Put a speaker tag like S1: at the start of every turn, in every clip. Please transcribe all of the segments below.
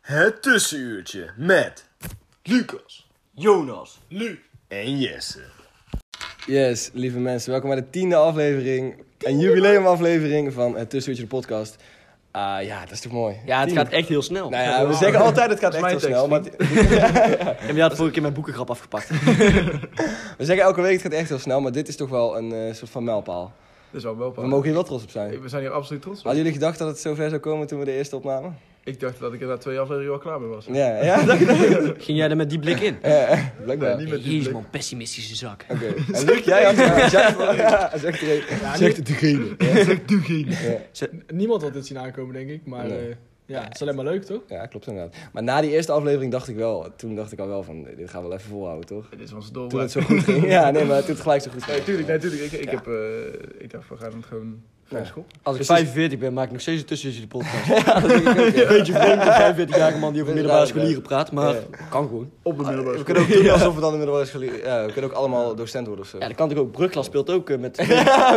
S1: Het tussenuurtje met Lucas, Jonas, Lu en Jesse.
S2: Yes, lieve mensen, welkom bij de tiende aflevering. Een jubileumaflevering van het Tussenuurtje de podcast. Ah ja, dat is toch mooi.
S3: Ja, het
S2: Tien.
S3: gaat echt heel snel.
S2: Nou ja, we zeggen altijd het gaat echt
S4: mijn
S2: heel snel. Maar
S3: En jij had vorige keer mijn boekengrap afgepakt.
S2: dit- we zeggen elke week het gaat echt heel snel, maar dit is toch wel een eh, soort van mijlpaal.
S4: Dat is wel wel
S2: We mogen hier wel trots op zijn.
S4: We zijn hier absoluut trots op.
S2: Hadden jullie gedacht dat het zover zou komen toen we de eerste opnamen?
S4: Ik dacht dat ik er na twee afleveringen wel klaar mee was.
S2: Ja, ja, dacht je dat?
S3: Ging jij er met die blik in?
S2: Ja, blijkbaar.
S4: niet met die
S3: Jezus
S4: blik.
S3: man, pessimistische zak.
S2: Oké. En Luc, jij had ja, jij zegt er
S4: Zegt degene. Zegt degene.
S2: Ja.
S5: Niemand had dit zien aankomen, denk ik. Maar
S2: Nee.
S5: eh, ja, het is alleen maar leuk, toch?
S2: Ja, klopt inderdaad. Maar na die eerste aflevering dacht ik wel, toen dacht ik al wel van, dit gaan we wel even volhouden, toch?
S4: Dit is ons doel.
S2: Toen het zo goed ging. Ja, nee, maar toen het gelijk zo goed ging.
S4: Nee, tuurlijk, nee, tuurlijk. Ik, ik, heb, eh, ik dacht, we gaan het gewoon van
S2: Ja.
S4: school.
S2: Als
S3: Als ik
S2: precies-
S3: 45 ben, maak ik nog steeds een tussentje de podcast. Een
S2: Ja, dat denk ik ook, ja.
S3: beetje vreemd, een 45-jarige man die over middelbare scholieren praat, maar
S2: Ja.
S3: kan gewoon.
S4: Op de middelbare
S2: We kunnen ook doen alsof we dan in de middelbare scholi- Ja, we kunnen ook allemaal docent worden of zo.
S3: Ja, dat kan natuurlijk ook. Brugklas speelt ook eh, met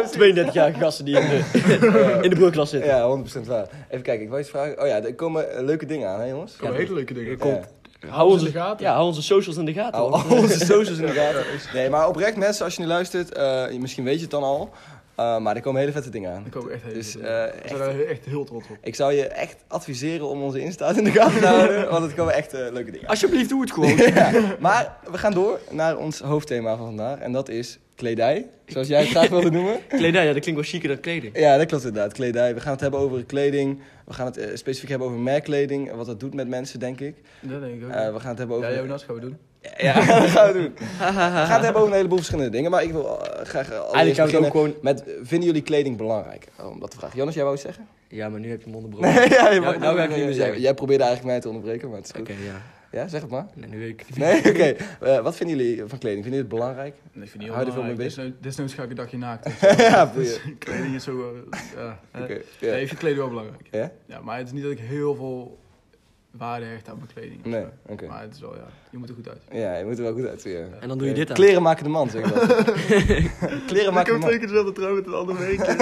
S3: 32-jarige gasten die in de, in de brugklas zitten.
S2: Ja, 100% waar. Even kijken, ik wou iets vragen. Oh ja, er komen eh, leuke dingen aan, hè jongens?
S4: Kom, hele leuke dingen.
S2: Ja.
S3: Hou,
S5: in de
S3: onze,
S5: gaten.
S3: ja, hou onze socials in de gaten.
S2: Hou
S3: hoor.
S2: al onze socials in de gaten. Nee, maar oprecht mensen, als je nu luistert, eh, misschien weet je het dan al. eh, maar er komen hele vette dingen aan.
S4: Ik hoop echt heel
S2: Dus,
S4: veel
S2: eh,
S4: dingen. We zijn er echt heel trots op.
S2: Ik zou je echt adviseren om onze Insta in de gaten te houden, want het komen echt eh, leuke dingen aan.
S3: Oh, Alsjeblieft, doe het gewoon.
S2: Maar we gaan door naar ons hoofdthema van vandaag. En dat is kledij, zoals jij het graag wilde noemen.
S3: Kledij, ja, dat klinkt wel chiquer dan kleding.
S2: Ja, dat klopt inderdaad. Kledij. We gaan het hebben over kleding. We gaan het eh, specifiek hebben over merkkleding. en Wat dat doet met mensen, denk ik.
S4: Dat denk ik ook.
S2: Eh, we gaan het hebben over...
S4: ja, Jonas, gaan we doen.
S2: Ja, dat gaan we doen. we gaan het hebben over een heleboel verschillende dingen. Maar ik wil eh, graag eh, allereerst
S3: Eigenlijk gaan we
S2: beginnen
S3: het ook gewoon...
S2: met... eh, Vinden jullie kleding belangrijk? Oh, Om dat te vragen. Jonas, jij wou iets zeggen?
S3: Ja, maar nu heb je mijn onderbroken.
S2: Nee, ja, je
S3: mag- nou ga ik het niet meer
S2: jij,
S3: zeggen.
S2: jij probeerde eigenlijk mij te onderbreken, maar het is goed.
S3: Oké, ja.
S2: Ja, zeg het maar.
S3: Nee, nu weet ik het niet.
S2: Nee, oké. Eh, wat vinden jullie van kleding? Vinden jullie het belangrijk?
S4: Nee, ik vind het
S2: Hou je er veel mee bezig?
S4: Desnood- Desnoods ga ik een dagje naakt.
S2: ja, boeien.
S4: Dus kleding is zo... eh, ja, hè.
S2: Oké.
S4: Nee,
S2: ja.
S4: ik vind kleding wel belangrijk.
S2: Ja?
S4: Ja, maar het is niet dat ik heel veel waarde hecht aan mijn kleding. of
S2: Nee,
S4: zo.
S2: oké.
S4: Maar het is wel, ja, je moet er goed uit.
S2: Ja, je moet er wel goed uitzien. ja.
S3: En dan doe je
S2: Eh,
S3: dit aan.
S2: Kleren maken de man, zeg ik dat. Kleren maken de man.
S4: keer dezelfde trui met een andere week.
S2: Oké,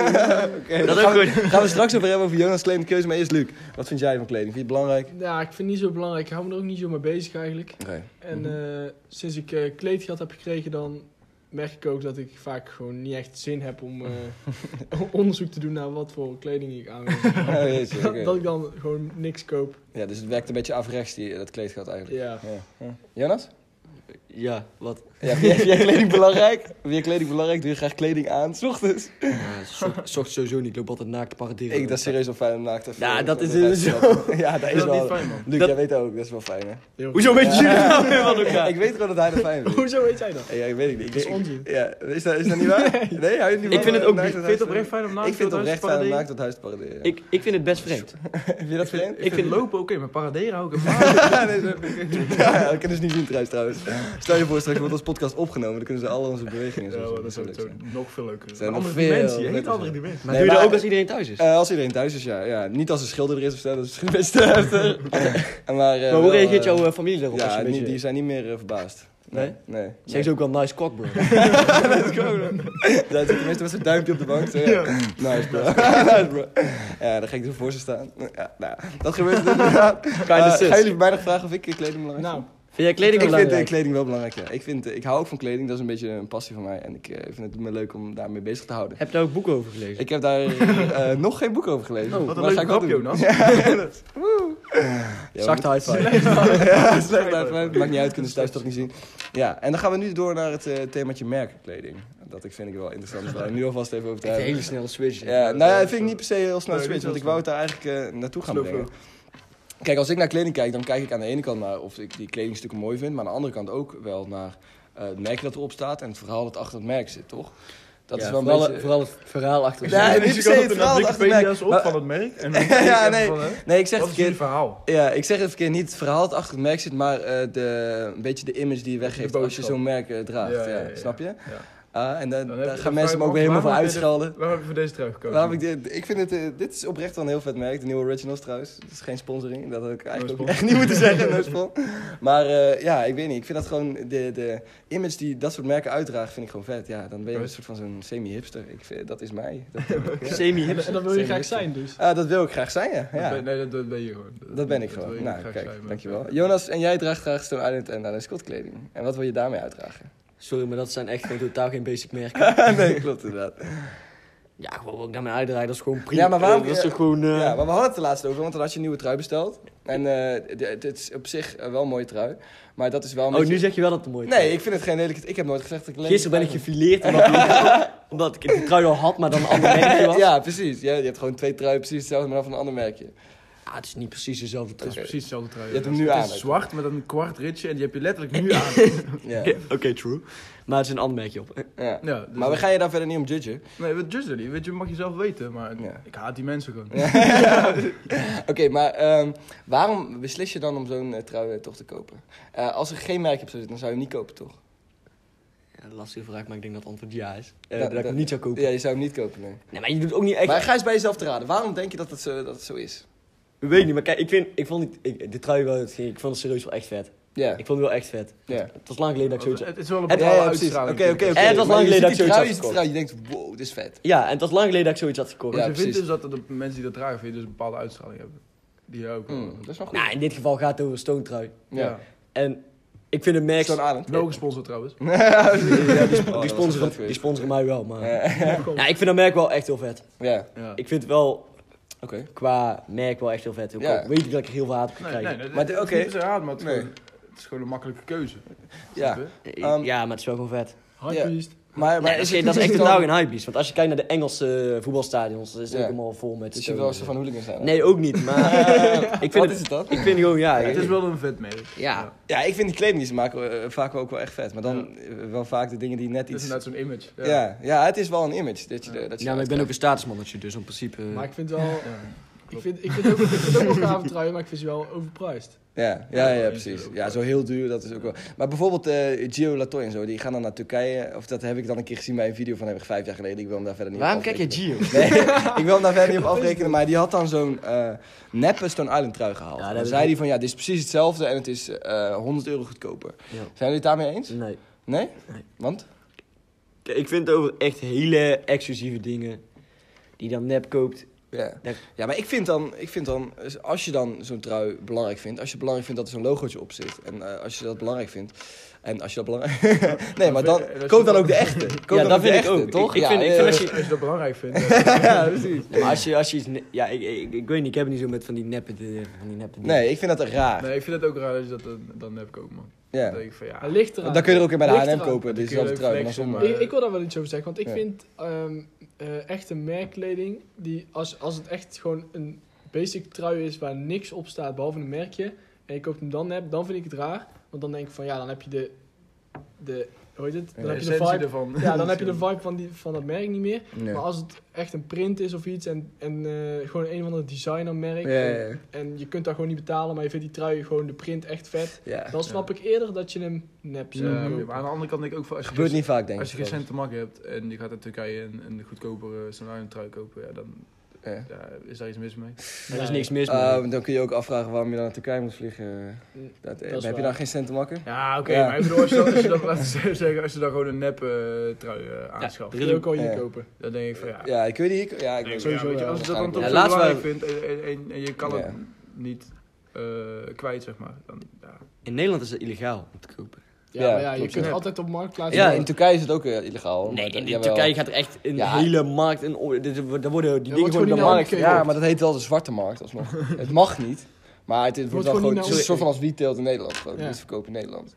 S2: daar
S3: Dat ook
S2: gaan, we-
S3: goed.
S2: gaan we straks over hebben over Jonas' kledingkeuze. Maar eerst Luc, wat vind jij van kleding? Vind je het belangrijk?
S5: Ja, ik vind het niet zo belangrijk. Ik hou me er ook niet zo mee bezig eigenlijk.
S2: Oké.
S5: En eh, sinds ik eh, kleedgeld heb gekregen, dan merk ik ook dat ik vaak gewoon niet echt zin heb om eh, onderzoek te doen naar wat voor kleding ik aan wil.
S2: Oh, jeetje, oké.
S5: Dat ik dan gewoon niks koop.
S2: Ja, dus het werkt een beetje averechts, die, dat kleedgat eigenlijk.
S5: Ja.
S2: Ja. ja. Jonas?
S3: Ja, wat?
S2: Ja, vind jij, vind jij kleding belangrijk? Vind je kleding belangrijk? Doe je graag kleding aan, s ochtends?
S3: Ja,
S2: Eh,
S3: zo- zocht sowieso niet. Ik loop altijd naakt te paraderen.
S2: Ik, dat is serieus wel fijn om naakt te
S3: Ja, dat is
S2: zo. Ja, dat is
S4: Dat is niet
S2: wel...
S4: fijn, man.
S2: Luc,
S3: Dat-
S2: jij weet dat ook, dat is wel fijn, hè?
S5: Heel
S3: Hoezo weet je dat nou weer van elkaar?
S2: Ik weet gewoon dat hij dat fijn vindt.
S5: Hoezo weet jij dat?
S2: Ja, ik weet het niet. Ik,
S5: Dat is
S2: denk-
S5: onzin.
S2: Ja, is dat, is dat niet waar? Nee, hou je het niet
S3: Ik
S2: van
S3: vind het
S2: om
S3: ook
S4: Vind
S2: naakt tot
S3: niet-
S4: je
S2: huis
S4: het
S2: te
S4: oprecht fijn om naakt
S2: Ik vind het
S4: door huis
S2: oprecht
S4: te
S2: fijn om
S4: paraderen?
S2: naakt tot huis te paraderen.
S3: Ik, ik vind het best vreemd.
S2: Vind je dat vreemd?
S4: Ik vind lopen oké, maar paraderen hou ik ervan.
S2: Ja, nee, dat ja, dat kunnen ze niet zien thuis trouwens. Stel je voor, straks wordt ons podcast opgenomen, dan kunnen ze alle onze bewegingen zo.
S4: Ja,
S2: zien.
S4: dat is
S2: zou
S4: ook
S2: leuk
S4: zo nog veel leuker.
S2: Zijn
S4: Een
S2: nog
S4: andere
S2: veel
S4: dimensie,
S2: lekker
S4: hele andere
S2: zijn.
S4: dimensie.
S3: Maar
S2: Nee,
S3: doe
S2: maar-
S3: je dat ook als iedereen thuis is?
S2: zijn. Eh, als iedereen thuis is, ja. ja. Niet als de schilder er is of zo, dat is misschien best te heftig. maar, eh,
S3: maar hoe
S2: wel, eh,
S3: reageert jouw eh, familie daarop? als je
S2: Ja,
S3: een
S2: die,
S3: beetje...
S2: die zijn niet meer eh, verbaasd.
S3: Nee?
S2: Nee.
S3: Zeggen ze ook wel nice cock, bro.
S2: Daar zit tenminste met zijn duimpje op de bank. Zo, ja. Nice bro. nice bro. Ja, dan ga ik er voor ze staan. Ja, nou, dat gebeurt er inderdaad. Eh,
S3: zus.
S2: gaan jullie mij nog vragen of ik eh, kleding belangrijk
S5: Nou,
S3: Vind jij kleding
S2: ik vind
S3: belangrijk?
S2: eh, kleding wel belangrijk, ja. Ik, vind, eh, ik hou ook van kleding, dat is een beetje een passie van mij. En ik eh, vind het doet me leuk om daarmee bezig te houden.
S3: Heb je daar ook boeken over gelezen?
S2: Ik heb daar eh, nog geen boek over gelezen.
S3: Oh,
S2: maar
S3: wat
S6: Wat een
S2: dat ga
S6: leuke
S2: ik wel
S6: grap,
S2: doen.
S6: Jonas.
S2: Ja,
S3: Zachte high five.
S2: ja, slecht uitgebreid. Maakt niet uit, kunnen ze thuis toch niet zien. Ja, en dan gaan we nu door naar het eh, themaatje merkkleding. Dat ik, vind ik wel interessant, dus daar nu alvast even over te
S3: Echt een
S2: hebben.
S3: hele snelle switch.
S2: Ja, nou ja, dat vind ik niet per se heel snel
S6: Nee,
S2: switch,
S6: niet
S2: want ik
S6: heel
S2: wou het daar eigenlijk eh, naartoe gaan
S6: Slow
S2: brengen. Kijk, als ik naar kleding kijk, dan kijk ik aan de ene kant naar of ik die kledingstukken mooi vind, maar aan de andere kant ook wel naar eh, het merk dat erop staat en het verhaal dat achter het merk zit, toch? Dat
S3: Ja,
S2: is wel een
S3: vooral,
S2: beetje...
S3: vooral het verhaal achter
S2: Ja,
S3: ons.
S2: niet per se het verhaal achter het merk.
S6: op van het merk. En dan
S2: Ja,
S6: kijk je
S2: nee.
S6: van, hè,
S2: Nee, ik zeg
S6: Wat
S2: het
S6: is
S2: verkeerd.
S6: jullie verhaal?
S2: Ja, ik zeg het verkeerd. Niet het verhaal dat achter het merk zit, maar eh, de, een beetje de image die je weggeeft als je
S6: boodschap.
S2: zo'n merk eh, draagt.
S6: Ja,
S2: Ja,
S6: ja, ja, ja.
S2: Snap je?
S6: Ja.
S2: Ah, en dan,
S6: Dan
S2: daar
S6: heb je-
S2: gaan
S6: dan
S2: mensen me
S6: vraag ik
S2: ook
S6: me
S2: weer helemaal
S6: af,
S2: voor
S6: waarom heb je dit-
S2: uitschelden.
S6: Waarom heb je voor deze trui gekozen?
S2: Waarom ik dit, ik vind het, eh, dit is oprecht wel een heel vet merk, de nieuwe Originals trouwens. Het is geen sponsoring, dat had ik eigenlijk ook echt niet moeten zeggen, no spon. Maar eh, ja, ik weet niet, ik vind dat gewoon, de, de image die dat soort merken uitdragen vind ik gewoon vet. Ja, dan ben je een soort van zo'n semi-hipster. Ik vind, dat is mij. Dat,
S3: Semi-hip.
S1: En dat wil je graag zijn, dus.
S2: Ah, dat wil ik graag zijn, ja.
S6: Dat ben-
S2: ja.
S6: Nee, dat, dat ben je gewoon.
S2: Dat ben ik
S6: wil
S2: gewoon.
S6: je
S2: Nou,
S6: graag
S2: kijk,
S6: zijn, maar-
S2: dankjewel. Jonas, en jij draagt graag Stone Island en Alain Scott kleding. En wat wil je daarmee uitdragen?
S3: Sorry, maar dat zijn echt gewoon totaal geen basic merken.
S2: nee, klopt inderdaad.
S3: Ja, gewoon wat ik daarmee uitdraai, dat is gewoon prima.
S2: Ja, maar waarom-
S3: Eh, Dat is toch gewoon... eh,
S2: Ja, maar we hadden het er laatst over, want dan had je een nieuwe trui besteld. En eh, d- het is op zich eh, wel een mooie trui, maar dat is wel een
S3: Oh,
S2: beetje-
S3: nu zeg je wel dat het mooi is.
S2: Nee, ik vind het geen lelijk. Ik heb nooit gezegd dat ik lelijk
S3: Gisteren ben ik
S2: trui
S3: gefileerd omdat, omdat ik de trui al had, maar dan een ander merkje was.
S2: vond. Ja, precies. Ja, je hebt gewoon twee truien, precies hetzelfde, maar dan van een ander merkje.
S3: Ah, het is niet precies dezelfde
S6: Het is
S3: trui.
S6: precies hetzelfde trui.
S2: Je hebt hem
S6: Het
S2: nu
S6: is
S2: aan, hè?
S6: zwart met een kwart ritje en die heb je letterlijk nu aan.
S2: Ja.
S3: Ja, Oké, true. Maar het is een ander merkje op.
S2: Ja.
S6: Ja, dus-
S2: Maar we gaan je daar verder niet om judgen.
S6: Nee, we judgen die. Weet je, mag je zelf weten, maar
S2: Ja.
S6: ik haat die mensen gewoon.
S2: Oké, maar ehm, waarom beslis je dan om zo'n eh, trui eh, toch te kopen? Eh, als er geen merk op zou zitten, dan zou je hem niet kopen, toch?
S3: Ja, lastige vraag, maar ik denk dat het antwoord ja is.
S2: Ja,
S3: Eh, dat ik
S2: dat-
S3: hem niet zou kopen.
S2: Ja, je zou hem niet kopen, nee.
S3: Nee, maar je doet ook niet echt...
S2: Maar ga eens bij jezelf te raden. Waarom denk je dat het zo, dat het zo is?
S3: Ik weet niet, maar kijk, ik, vind, ik vond die, ik, de trui wel... het- Ik vond het serieus wel echt vet.
S2: Ja.
S3: Ik vond het wel echt vet.
S2: Ja.
S3: Het was lang geleden dat ik zoiets...
S6: Het is wel een
S2: Ja,
S6: bepaalde
S2: ja, precies. Oké,
S6: uitstraling.
S2: oké, oké.
S3: En het was
S2: Maar
S3: lang
S2: je
S3: geleden
S2: ziet
S3: dat ik
S2: die
S3: zoiets
S2: trui, je
S3: had
S2: ziet die trui, je denkt, wow, dit is vet.
S3: Ja, en het was lang geleden dat ik zoiets had gekocht.
S2: Ja,
S6: Wat je vindt
S2: precies.
S6: is dat de mensen die dat dragen, vind je dus een bepaalde uitstraling hebben. Die je ook.
S2: Hmm, dat is wel goed.
S3: Nou, in dit geval gaat het over een stoontrui.
S2: ja.
S6: Ja.
S3: En ik vind het merk...
S2: Zo'n Oh, Arend.
S6: Wel gesponsord trouwens.
S2: Hmm, ja, die,
S3: die, sponsoren, die sponsoren mij wel, maar... Ja.
S6: Kom.
S3: ik vind dat merk wel echt heel vet.
S2: Ja,
S6: Ja.
S3: Ik vind het wel
S2: oké.
S3: qua merk wel echt heel vet. Ik
S2: Ja.
S3: weet ik dat ik er heel veel haat op
S6: Nee, nee,
S3: krijg.
S6: nee.
S2: Maar
S6: Maar
S2: de-
S6: oké.
S2: oké.
S6: Het is niet raar, maar het is
S2: Nee.
S6: gewoon- het is gewoon een makkelijke keuze.
S2: Ja.
S3: Ja,
S2: Ehm,
S3: maar het is wel gewoon vet.
S1: Hardbeest.
S2: Maar, maar
S3: Nee,
S2: is
S3: dat, is,
S2: het
S3: dat is
S2: niet
S3: echt
S2: dan-
S3: totaal geen hypebeest. Want als je kijkt naar de Engelse eh, voetbalstadions, dan is het
S2: Ja.
S3: ook helemaal vol met... eh,
S2: Is je wel zo van hooligans zijn?
S3: Nee, ook niet, maar... eh, ik
S2: Wat
S3: vind
S2: is
S3: het...
S2: het dan?
S3: Ik vind gewoon, ja...
S6: Het
S3: ik-
S6: is wel een vet merk.
S3: Ja,
S2: Ja, ik vind die kleding die ze maken eh, vaak wel ook wel echt vet. Maar dan eh, wel vaak de dingen die net
S6: Het is
S2: iets...
S6: inderdaad zo'n image.
S2: Ja. Ja, het is wel een image. Dat je, de- dat je
S3: ja maar ik ben ook een statusmannetje, dus in principe... eh,
S1: Maar ik vind wel... Ik vind, ik vind ook, ik vind ook wel gave truien, maar ik vind ze wel overpriced.
S2: Ja, ja, ja, precies. Ja, zo heel duur, dat is ook wel... Maar bijvoorbeeld eh, Gio Latoy en zo, die gaan dan naar Turkije. Of dat heb ik dan een keer gezien bij een video van, heb ik vijf jaar geleden. Ik wil hem daar verder niet op
S3: Waarom kijk je
S2: afrekenen.
S3: Gio?
S2: Nee, ik wil hem daar verder niet op afrekenen, maar die had dan zo'n eh neppe Stone Island trui gehaald.
S3: Ja, dat
S2: En dan
S3: heb ik
S2: zei
S3: ook.
S2: hij van, ja, dit is precies hetzelfde en het is eh 100 euro goedkoper.
S3: Ja.
S2: Zijn jullie het daarmee eens?
S3: Nee.
S2: Nee?
S3: Nee.
S2: Want?
S3: Ik vind het over echt hele exclusieve dingen die je dan nep koopt.
S2: Ja.
S3: Ja.
S2: ja, maar ik vind dan, ik vind dan dus als je dan zo'n trui belangrijk vindt, als je belangrijk vindt dat er zo'n logootje op zit, en eh, als je dat belangrijk vindt, en als je dat belangrijk... nee, maar dan,
S6: vind- dat
S2: koop
S6: is-
S2: dan ook de echte. Koop
S3: ja,
S2: dan
S3: dat vind
S2: de
S3: ik
S2: echte,
S3: ook.
S2: toch?
S3: Ik, ik
S2: Ja,
S3: vind, ik
S2: eh,
S3: vind als je...
S6: Als je dat belangrijk vindt.
S2: ja, precies.
S3: Ja, maar als je, als je iets... ne- Ja, ik, ik, ik weet niet, ik heb het niet zo met van die neppe, de- van die neppe dingen.
S2: Nee, ik vind dat raar.
S6: Nee, ik vind het ook raar dat je dat dan- dan hebt ook man.
S2: Ja.
S6: Dan denk ik van ja.
S1: Hij ligt eraan.
S2: Dan kun je er ook in bij de
S1: Ligt
S2: H&M
S1: eraan.
S2: kopen,
S6: kun je
S2: dezelfde
S6: leuk
S2: trui, maar dan
S6: flexen,
S2: zonder.
S6: maar-
S3: Eh,
S1: Ik, ik wil daar wel iets over zeggen, want ik
S2: Ja.
S1: vind ehm, eh, echte merkkleding, die als, als het echt gewoon een basic trui is waar niks op staat behalve een merkje, en je koopt hem dan heb, dan vind ik het raar. Want dan denk ik van ja, dan heb je de. de hoe heet het? Dan
S6: de
S1: heb je de
S6: essentie
S1: vibe.
S6: ervan.
S1: Ja, dan heb je de vibe van, die, van dat merk niet meer.
S2: Nee.
S1: Maar als het echt een print is of iets en, en eh, gewoon een of ander designermerk.
S2: Ja, ja, ja.
S1: En, en je kunt daar gewoon niet betalen, maar je vindt die trui gewoon de print echt vet.
S2: Ja.
S1: Dan snap ik eerder dat je hem nep
S6: Ja,
S1: zou kopen.
S6: maar aan de andere kant denk ik ook van als je
S2: Gebeurt niet vaak, denk ik.
S6: Als je geen
S2: trouwens.
S6: cent te maken hebt en je gaat naar Turkije een, een goedkopere Sonarium trui kopen, ja, dan
S2: Ja.
S6: ja, is daar iets mis mee.
S3: Er is niks mis mee.
S2: Ah, dan kun je ook afvragen waarom je dan naar Turkije moet vliegen.
S1: Mm,
S2: Dat, eh,
S1: is
S2: heb je
S1: waar.
S2: daar geen cent te makken?
S6: Ja, oké,
S2: Ja.
S6: maar ik bedoel, als je, dan- als je dat laten we zeggen, als je dan gewoon een nep eh, trui eh, aanschaft,
S3: er
S1: Wil je ook al hier
S2: Ja.
S1: kopen.
S6: dan denk ik van ja,
S2: Ja, ik weet niet. ik- Ja, ik
S6: ik denk
S2: weet
S6: van, ja,
S1: sowieso
S6: weet je,
S1: wel.
S6: als je dat dan toch
S3: Ja,
S6: zo
S3: laatst
S6: belangrijk vindt en, en, en- en je kan
S2: Ja.
S6: het niet
S4: eh, kwijt, zeg maar. Dan, ja.
S3: In Nederland is het illegaal om te kopen.
S5: Ja,
S2: Ja,
S5: maar ja, je
S2: klopt,
S5: kunt
S4: ja.
S5: altijd op marktplaats.
S2: Ja, in Turkije is het ook eh, illegaal.
S3: Nee,
S2: maar-
S3: in
S2: jawel.
S3: Turkije gaat er echt een
S2: Ja.
S3: hele markt in orde. Dit- Daar worden die dingen
S5: wordt
S3: gewoon
S5: gewoon
S3: op de
S5: niet
S3: markt.
S5: aan-
S2: Ja, maar dat heet wel de zwarte markt alsnog. het mag niet, maar het, wordt
S5: Wordt
S2: wel
S5: gewoon
S2: gewoon
S5: niet
S2: het is
S5: naar-
S2: een soort van als wietteelt in Nederland. Gewoon
S5: Ja.
S2: wiet verkopen in Nederland.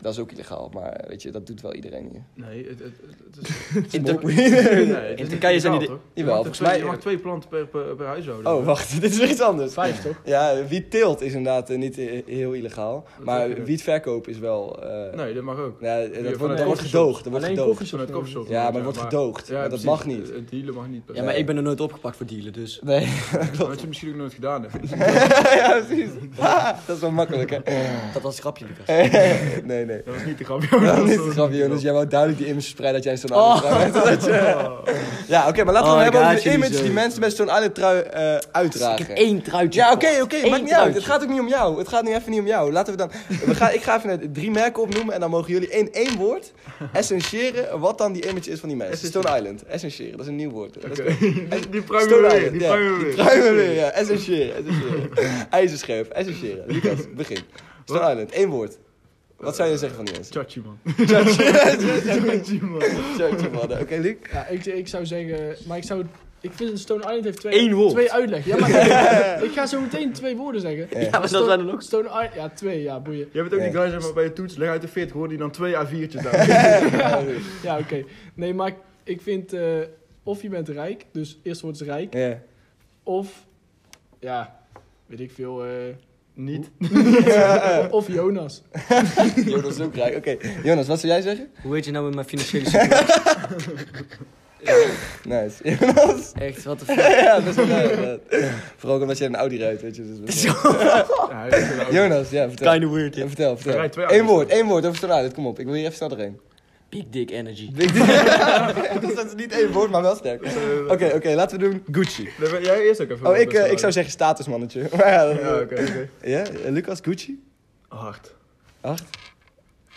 S2: Dat is ook illegaal, maar eh, weet je, dat doet wel iedereen hier.
S4: Nee, het, het, het- het is...
S3: In
S4: Nee,
S3: Turk-
S4: het is
S3: In
S4: niet
S3: Turkije zijn die...
S4: legaal, toch? Je
S2: Jawel,
S4: mag
S2: volgens
S4: twee-
S2: mij-
S4: Je mag twee planten per, per, per huishouden.
S2: Oh, wacht, dit is weer iets anders.
S5: Vijf, toch?
S2: Ja, wiet teelt is inderdaad eh, niet eh, heel illegaal.
S4: ook
S2: Maar
S4: niet.
S2: wiet verkopen is wel... eh,
S4: Nee, dat mag ook.
S2: ja, dat wordt,
S4: vanuit
S2: dat wordt
S4: koffieshops.
S2: gedoogd. Dat wordt
S5: Alleen
S2: gedoogd.
S5: koffies-
S4: Vanuit koffieshop.
S2: Ja, maar het wordt gedoogd.
S4: ja,
S2: maar dat
S4: precies.
S2: mag niet.
S4: Het dealen mag niet per
S3: Ja,
S4: se.
S3: maar ik ben er nooit opgepakt voor dealen, dus...
S2: Nee,
S4: Wat je het misschien ook nooit gedaan hebt.
S2: ja, precies. Ah, dat is wel makkelijk, hè?
S3: Dat was een grapje, Lucas.
S2: nee, nee.
S4: Dat was niet de grapje.
S2: Dat is
S4: was
S2: een grapje,
S4: niet
S2: Jonas. Jij wou duidelijk die image spreiden dat jij zo'n
S3: Oh.
S2: oh. Dat je... Ja, oké, maar laten we het hebben
S3: Oh, ik
S2: over
S3: haat
S2: de
S3: jullie
S2: image
S3: zo.
S2: die mensen met zo'n eiland trui eh,
S3: Ik heb
S2: uitdragen.
S3: één truitje.
S2: Ja, oké,
S3: gekocht.
S2: oké.
S3: Eén
S2: maakt niet uit.
S3: truitje.
S2: Het gaat ook niet om jou. Het gaat nu even niet om jou. Laten we dan... We gaan, ik ga even drie merken opnoemen en dan mogen jullie in één woord essentiëren wat dan die image is van die mensen. Stone Island. Essentiëren. Dat is een nieuw woord. Dat is-
S4: Die, die pruimen
S2: Stone
S4: we weer.
S2: Island,
S4: Die
S2: ja.
S4: pruimen we
S2: Die
S4: weer.
S2: pruimen weer, ja. Essentiëren, essentiëren. IJzerscherf, essentiëren. Lucas, begin. Stone Island, één woord. Wat zou je zeggen van die mensen?
S4: Chachi, man.
S2: Judge. Judge, man. Oké, Luc.
S5: Ja, ik, ik zou zeggen, maar ik zou. Ik vind Stone Island heeft twee,
S3: Eén woord.
S5: twee uitleggen. Ja, maar ik ga zo meteen twee woorden zeggen.
S3: Ja, maar dat
S5: Stone-
S3: zijn er ook...
S5: Stone Island, ja, twee, ja, boeien.
S4: Jij bent ook die
S2: Ja.
S4: guy, zeg maar, bij je toets. Leg uit de 40, hoor die dan twee A4'tjes daar.
S5: Ja, oké. Nee, maar ik- ik vind, eh, of je bent rijk, dus eerst wordt het rijk,
S2: Ja.
S5: of, ja, weet ik veel, eh,
S4: Niet.
S5: of- of Jonas.
S2: Jonas is ook rijk. Oké, Jonas, wat zou jij zeggen?
S3: Hoe weet je nou met mijn financiële situatie?
S2: Nice.
S3: Echt, wat de fuck?
S2: ja, dat is wel leuk, inderdaad. Vooral ook omdat jij een Audi rijdt, weet je. Dus dat-
S4: Ja, hij is er ook.
S2: Jonas, ja, vertel.
S3: Kinda weird,
S2: Ja,
S3: ja.
S2: vertel,
S4: Hij
S2: vertel.
S4: rijdt twee
S2: Eén
S4: auto's.
S2: woord, één woord over Stone Island. Kom op, ik wil hier even snel doorheen.
S3: Big dick energy.
S2: dat is niet één woord, maar wel sterk.
S4: eh,
S2: Oké, oké, laten we doen Gucci.
S4: Dan ben Jij eerst ook even.
S2: Oh, ik, eh, ik zou zeggen statusmannetje. Maar ja, dat-
S4: Ja, oké, oké.
S2: Ja, eh, Lucas, Gucci?
S4: Hard.
S2: Acht.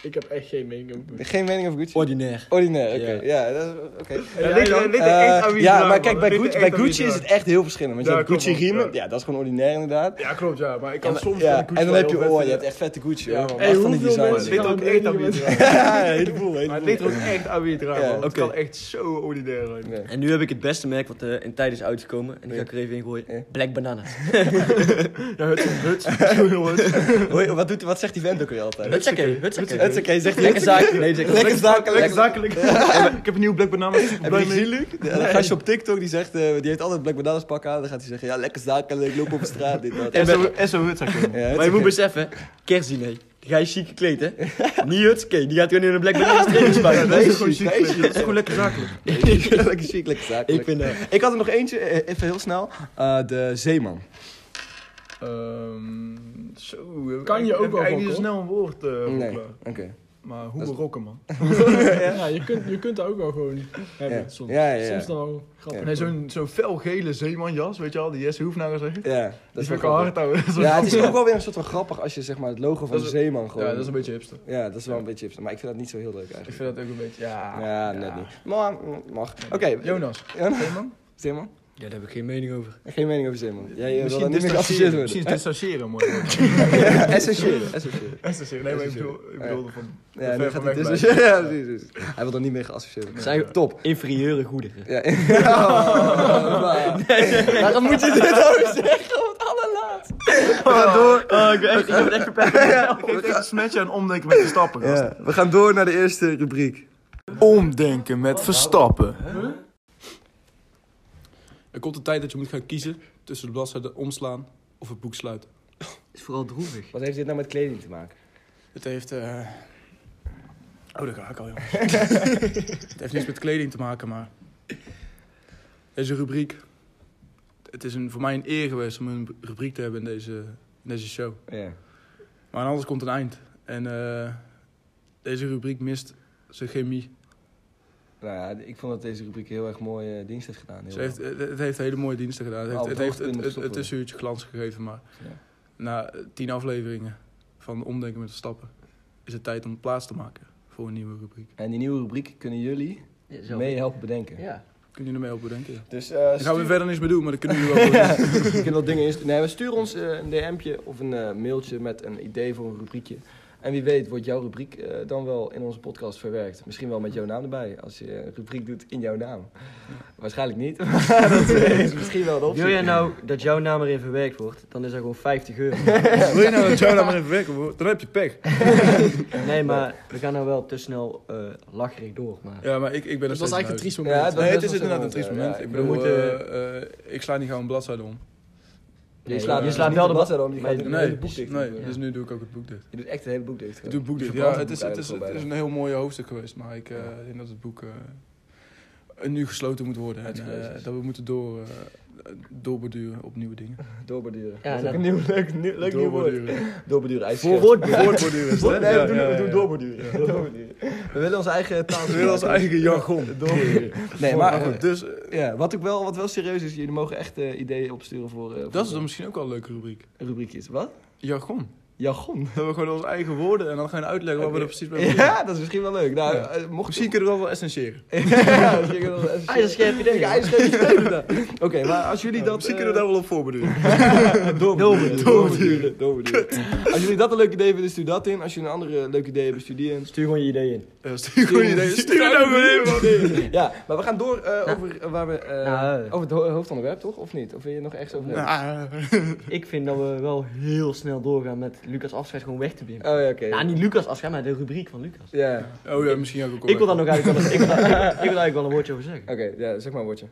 S5: Ik heb echt geen mening over
S2: Geen mening over Gucci?
S3: Ordinair.
S2: Ordinair, oké. Ja, dat is- oké.
S4: Ja, ligt er ligt er echt
S2: Eh,
S4: aan wie
S2: ja,
S4: draagt,
S2: maar
S4: man.
S2: kijk, bij
S4: Ligt er
S2: Gucci,
S4: echt
S2: bij
S4: aan wie
S2: Gucci is
S4: draagt.
S2: het echt heel verschillend. Want je
S4: Ja,
S2: hebt
S4: klopt,
S2: Gucci riemen,
S4: ja.
S2: ja, dat is gewoon ordinair inderdaad.
S4: Ja, klopt, ja. Maar ik kan
S2: maar-
S4: soms
S2: ja,
S4: van Gucci
S2: en dan
S4: wel
S2: heb je,
S4: heel vet
S2: oh, je
S4: vinden.
S2: hebt echt vette Gucci.
S4: Ja,
S2: hoor.
S4: man.
S2: Wacht
S5: Hey,
S2: van die
S5: hoeveel
S2: design.
S4: Maar het
S5: mensen-
S4: ligt er ook
S5: Ja,
S4: echt aan wie
S5: nee,
S4: het
S5: nee,
S4: draagt.
S2: Ja, een heleboel, een
S4: Maar het
S2: heleboel.
S4: ligt er ook echt aan wie het draagt,
S2: Ja,
S4: man. Het
S3: oké.
S4: kan echt zo ordinair zijn.
S2: Nee.
S3: En nu heb ik het beste merk wat eh, in tijd is uitgekomen. En die ga ik er even in gooien.
S2: Ja.
S3: Black Banana.
S4: Ja, Hudson, Hudson, jongens.
S2: Hoi, wat, doet, wat zegt die vent ook weer altijd?
S3: Het is oké, het is
S2: Het is
S3: oké.
S2: oké, zegt hij.
S3: Lekker zaak. Nee, zeg
S2: Lekker zakelijk.
S4: Lekker zakelijk. Ik heb een nieuw Black Banana. Ik ben
S2: Heb je
S4: blij
S2: die
S4: mee.
S2: gezien, Luc? Ja, Dat gastje op TikTok, die, zegt, eh, die heeft altijd Black Bananas pak aan. Dan gaat hij zeggen, ja, lekker zakelijk, loop op de straat, dit, dat. Ja,
S4: SO SO Hudson.
S2: het is
S3: Maar je moet
S2: oké.
S3: beseffen, kerstdiner. Die ga je chic gekleed, hè? Niet Hutske, die gaat gewoon in een Black Banana trainingspak.
S4: Dat is
S2: Deze
S4: gewoon
S2: chic,
S4: chic,
S2: deze
S4: weet je. Dat is gewoon lekker zakelijk.
S2: lekker chic, lekker zakelijk.
S3: Ik vind eh,
S2: Ik had er nog eentje, eh, even heel snel. Eh, de Zeeman.
S4: Ehm, zo, heb ik
S5: Kan
S4: eigenlijk-
S5: je ook
S4: heb ik
S5: wel
S4: eigenlijk niet
S5: rocken,
S4: zo snel een woord eh, voor
S2: Nee,
S4: klaar.
S2: oké.
S4: Maar hoe we rocken, man.
S5: Ja, je kunt, je kunt daar ook wel gewoon hebben,
S2: Ja.
S5: soms.
S2: Ja, ja, ja.
S5: Soms dan wel grappig.
S4: Nee, zo'n zo'n felgele zeemanjas, weet je al, die Jesse Hoefnagers zegt.
S2: Ja,
S4: Dat
S2: dat
S4: is
S2: is wel
S4: vind ik al
S2: grappig.
S4: hard, ouwe.
S2: Ja, het is ook wel weer een soort van grappig als je zeg maar het logo van
S4: Dat
S2: de
S4: is-
S2: Zeeman gewoon...
S4: Ja, dat is een beetje hipster.
S2: Ja, dat is wel een beetje hipster, maar ik vind dat niet zo heel leuk
S4: Ik
S2: eigenlijk.
S4: vind dat ook een beetje, ja.
S2: Ja, net niet. Maar, mm, mag. Oké,
S4: Jonas,
S2: Jonas.
S4: Zeeman?
S2: Zeeman?
S3: Ja, daar heb ik geen mening over.
S2: Geen mening over Zeeman. Jij eh, wil daar
S4: Misschien
S2: niet mee geassocieerd
S4: distancieren.
S2: worden.
S4: Misschien is distancieren, mooi. woord.
S2: Ja, Essentieel, essentieel.
S4: Distancieren, nee, maar ik bedoel- ik bedoelde van...
S2: Ja,
S4: ver
S2: nu gaat
S4: van
S2: hij
S4: weg
S2: dus.
S4: blijven.
S2: Ja, precies, precies. Hij wil er niet mee geassocieerd worden.
S3: Zijn top, inferieure goederen.
S2: Ja. Oh, maar- Waarom moet je dit ook zeggen op het allerlaatst?
S3: Oh, ik ben echt, ik heb het echt
S4: Ik geef echt een smetje aan omdenken met verstappen, gast.
S2: we gaan door naar de eerste rubriek.
S4: Omdenken met verstappen.
S6: Er komt een tijd dat je moet gaan kiezen tussen de bladzijden omslaan of het boek sluiten.
S3: is vooral droevig.
S2: Wat heeft dit nou met kleding te maken?
S6: Het heeft. eh, Oh, daar ga ik al, jongens. het heeft niks met kleding te maken, maar. Deze rubriek. Het is een, voor mij een eer geweest om een rubriek te hebben in deze, in deze show.
S2: Ja.
S6: Maar aan alles komt een eind. En eh, deze rubriek mist zijn chemie.
S2: Nou ja, ik vond dat deze rubriek heel erg mooie eh, dienst heeft gedaan. Heel
S6: Ze heeft, het, het heeft hele mooie diensten gedaan. Het heeft,
S2: Oh,
S6: het,
S2: dat
S6: heeft
S2: moet
S6: het, het,
S2: stoppen.
S6: het tussenuurtje glans gegeven, maar
S2: Ja.
S6: na eh, tien afleveringen van Omdenken met de Stappen is het tijd om plaats te maken voor een nieuwe rubriek.
S2: En die nieuwe rubriek kunnen jullie
S3: Ja,
S2: mee helpen bedenken.
S3: Ja.
S6: Kunnen jullie mee helpen bedenken? Ja.
S2: Dus
S6: Daar gaan we verder niks mee doen, maar dat kunnen jullie wel. doen.
S2: Je kunt wel dingen insturen. Nee, maar stuur ons eh, een DM'tje of een eh, mailtje met een idee voor een rubriekje. En wie weet wordt jouw rubriek eh, dan wel in onze podcast verwerkt. Misschien wel met jouw naam erbij, als je een rubriek doet in jouw naam. Waarschijnlijk niet, maar dat is misschien wel een optie.
S3: Wil jij nou dat jouw naam erin verwerkt wordt, dan is dat gewoon 50 euro.
S6: Wil je nou dat jou daar maar even werken, hoor? Dan heb je pech.
S3: Nee, maar we gaan nou wel te snel eh lacherig door. Maar
S6: Ja, maar ik, ik ben
S5: Dat
S6: nog
S5: was
S6: steeds
S5: eigenlijk een triest moment.
S2: Ja, het was
S6: Nee, het
S2: best
S6: is
S2: wel
S6: inderdaad een
S2: stil,
S6: triest
S2: ja.
S6: moment.
S2: Ja,
S6: Ik bedoel,
S3: we moeten-
S6: eh, eh, ik sla niet gauw een bladzijde om.
S2: je slaat,
S6: je
S2: je
S6: slaat
S2: slaat wel
S3: wel de
S2: de bladzijde om, je
S3: Nee,
S2: gaat het
S6: Nee,
S2: hele boek dicht.
S6: nee, dus nu doe ik ook het boek dicht.
S2: Je doet echt het hele boek dicht.
S6: Ik doe het boek dicht. Ja,
S2: verbrand
S6: het
S2: het
S6: is,
S2: boek
S6: het, is,
S2: eigenlijk
S6: het
S2: al
S6: is een heel mooi hoofdstuk geweest, maar ik eh,
S2: Ja.
S6: denk dat het boek eh, nu gesloten moet worden. En
S2: Uitgelezen
S6: eh,
S2: is.
S6: dat we moeten door, eh, doorborduren op nieuwe dingen.
S2: Doorborduren.
S3: Ja, nou.
S2: Ja, dat is
S3: dat-
S2: ook een nieuw, leuk, nieuw, leuk nieuw woord. Doorborduren, ijsje.
S6: Voortborduren is het, hè?
S2: Nee,
S6: Ja,
S2: we doen,
S6: ja,
S2: we
S6: ja.
S2: doen doorborduren. Doorborduren. We willen onze eigen taal.
S6: We willen ons eigen jargon.
S2: Doorborduren. Nee,
S6: Maar
S2: maar...
S6: goed, dus eh,
S2: Ja, wat, ik wel, wat wel serieus is, jullie mogen echt eh, ideeën opsturen voor, eh,
S6: dat is
S2: voor
S6: dan misschien ook wel een leuke rubriek.
S2: rubriekjes. Wat?
S6: Jargon.
S2: Jargon.
S6: Dat we gewoon onze eigen woorden en dan gaan uitleggen wat we er precies mee bedoelen.
S2: Ja, dat is misschien wel leuk. Nou,
S6: Ja.
S2: eh, mocht
S6: Misschien kunnen we dat wel essentiëren.
S2: ja, misschien kunnen we dat even-
S3: ijzerscherp idee.
S2: Ik ijzerscherp idee. nou. Oké, maar als jullie dat... eh,
S6: Misschien kunnen we daar wel op voorbeduren.
S2: daar doorbeduren. Doorbeduren. doorbeduren. Als jullie dat een leuk idee vinden, stuur dat in. Als jullie een andere leuk idee hebben, stuur die in.
S3: Stuur gewoon je idee in.
S6: Eh, Stuur gewoon je idee. Stuur het nou weer in, man.
S2: Ja, maar we gaan door eh, over eh, waar we... eh,
S3: Nou, eh.
S2: over het ho- hoofdonderwerp, toch? Of niet? Of wil je nog ergens over hebben?
S3: Ik vind dat we wel heel snel doorgaan met Lucas' afscheid gewoon weg te binden.
S2: Oh ja, oké.
S3: Nou, niet Lucas' afscheid, maar de rubriek van Lucas.
S2: Ja,
S6: Oh ja, misschien ook wel.
S3: Ik wil daar nog eigenlijk wel, een- ik wil daar, ik, wil- ik wil eigenlijk wel een woordje over zeggen.
S2: oké. ja, zeg maar een woordje.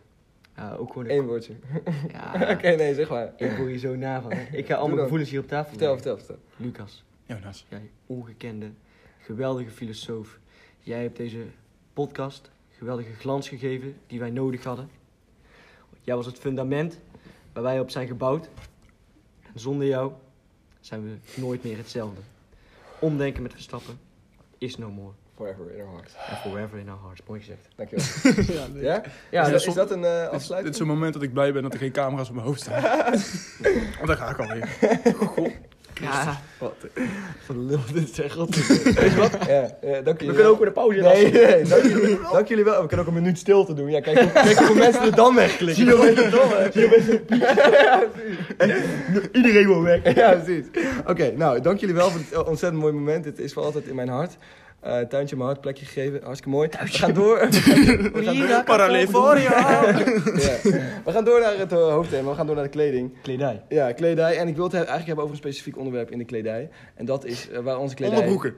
S3: Ja, ook gewoon een...
S2: Eén woordje.
S3: Ja,
S2: oké, nee, zeg maar.
S3: Ik word hier zo na van. hè. Ik ga allemaal
S2: dan.
S3: gevoelens hier op tafel
S2: Vertel,
S3: leggen.
S2: vertel, vertel.
S3: Lucas,
S6: Jonas.
S3: jij ongekende, geweldige filosoof. Jij hebt deze podcast geweldige glans gegeven die wij nodig hadden. Jij was het fundament waar wij op zijn gebouwd. En zonder jou zijn we nooit meer hetzelfde. Omdenken met Verstappen is no more.
S2: Forever in our hearts.
S3: And forever in our hearts. Mooi gezegd.
S2: Dankjewel.
S5: Ja, nee.
S2: Ja?
S3: Ja,
S2: is,
S6: dat
S2: dat,
S6: som-
S2: is dat een eh
S6: Dit, dit is
S2: afsluiting?
S6: een moment dat ik blij ben dat er geen camera's op mijn hoofd staan. Want daar ga ik alweer.
S3: Ja,
S2: Van lul, dit is echt wat? Ja, ja, dank jullie
S3: we kunnen ook
S2: wel.
S3: weer een pauze laten.
S2: Nee, nee, dank jullie, dank jullie wel. We kunnen ook een minuut stilte doen. Ja, kijk, hoe- kijk hoeveel mensen er dan wegklikken. Hier ben je Iedereen wil weg. Ja, precies. Oké, nou, dank jullie wel voor dit ontzettend mooi moment. Dit is voor altijd in mijn hart. Eh, tuintje in mijn hart, plekje gegeven. Hartstikke mooi. We gaan door. We gaan door. Ja. We gaan door naar het eh, hoofdthema. We gaan door naar de kleding.
S3: Kledij.
S2: Ja, kledij. En ik wil het he- eigenlijk hebben over een specifiek onderwerp in de kledij. En dat is eh, waar onze kledij...
S6: Onderbroeken.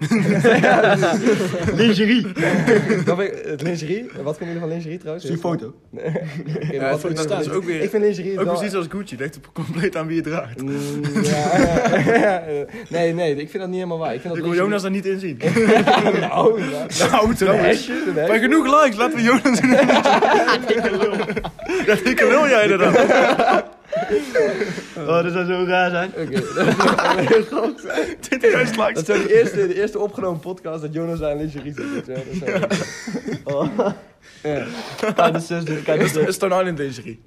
S2: lingerie. dat vind ik- het lingerie. Wat vinden jullie van lingerie trouwens?
S3: Zie foto.
S2: Nee. Oké, maar
S6: Ja,
S2: wat
S6: dat,
S2: vinden
S6: dat is
S2: jullie-
S6: ook weer...
S2: Ik vind lingerie
S6: ook
S2: wel...
S6: precies als Gucci, ligt er compleet aan wie je draagt.
S2: Mm, ja, ja, ja, ja. nee, nee, ik vind dat niet helemaal waar. Ik vind
S6: Ik
S2: dat
S6: wil Jonas er niet in zien.
S2: lingerie- Nou, ja.
S6: Nou, trouwens.
S2: Hesje,
S6: Bij
S2: nee.
S6: genoeg likes, laten we Jonas in Ja, dikke lul jij er dan.
S3: Oh, dat zou zo raar zijn.
S6: Dit is likes.
S2: Dat is ook de eerste, de eerste opgenomen podcast dat Jonas daar een lingerie zit. weet je wel. Dat is wel-
S3: Tijdens zes uur, kijk eens.
S6: Stone Island lingerie.